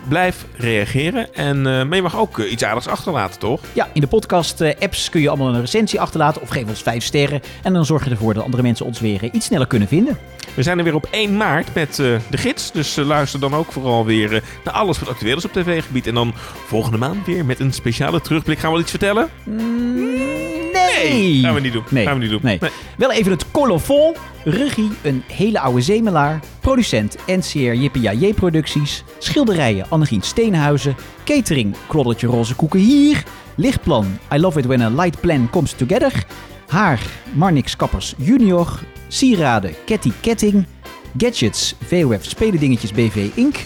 blijf reageren. En, eh, maar je mag ook eh, iets aardigs achterlaten, toch?
Ja, in de podcast-apps kun je allemaal een recensie achterlaten of geef ons vijf sterren. En dan zorg je ervoor dat andere mensen ons weer eh, iets sneller kunnen vinden.
We zijn er weer op 1 maart met eh, de gids. Dus eh, luister dan ook vooral weer eh, naar alles wat actueel is op tv-gebied. En dan volgende maand weer met een speciale terugblik. Gaan we wel iets vertellen?
Nee.
Gaan Nou, we niet doen.
Nee.
Gaan we niet doen.
Nee. Wel even het colofon. Regie, een hele oude zemelaar. Producent NCR JPJJ Producties. Schilderijen Annegien Steenhuizen. Catering Kloddertje Roze Koeken hier. Lichtplan I Love It When a Light Plan Comes Together. Haar Marnix Kappers Junior. Sieraden Ketty Ketting. Gadgets VOF Spelendingetjes BV Inc.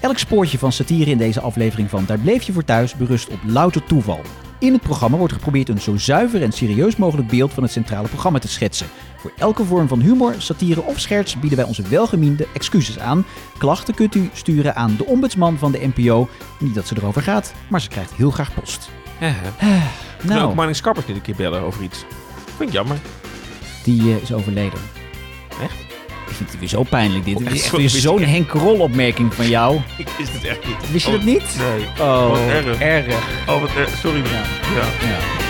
Elk spoortje van satire in deze aflevering van Daar bleef je voor thuis berust op louter toeval. In het programma wordt geprobeerd een zo zuiver en serieus mogelijk beeld van het centrale programma te schetsen. Voor elke vorm van humor, satire of scherts bieden wij onze welgemiende excuses aan. Klachten kunt u sturen aan de ombudsman van de NPO. Niet dat ze erover gaat, maar ze krijgt heel graag post.
Eh, nou.
nou.
ook Marnix Kappers niet een keer bellen over iets. Vind ik jammer.
Die eh, is overleden.
Echt?
Ik vind het weer zo pijnlijk dit.
Oh, *laughs*
Dit
echt?
is echt weer zo'n Henk Rol opmerking van jou.
Ik wist het echt niet.
Wist je dat niet?
Oh, Nee.
Oh,
Wat erg.
erg.
Oh, wat erg. Sorry. Ja. ja.
Ja.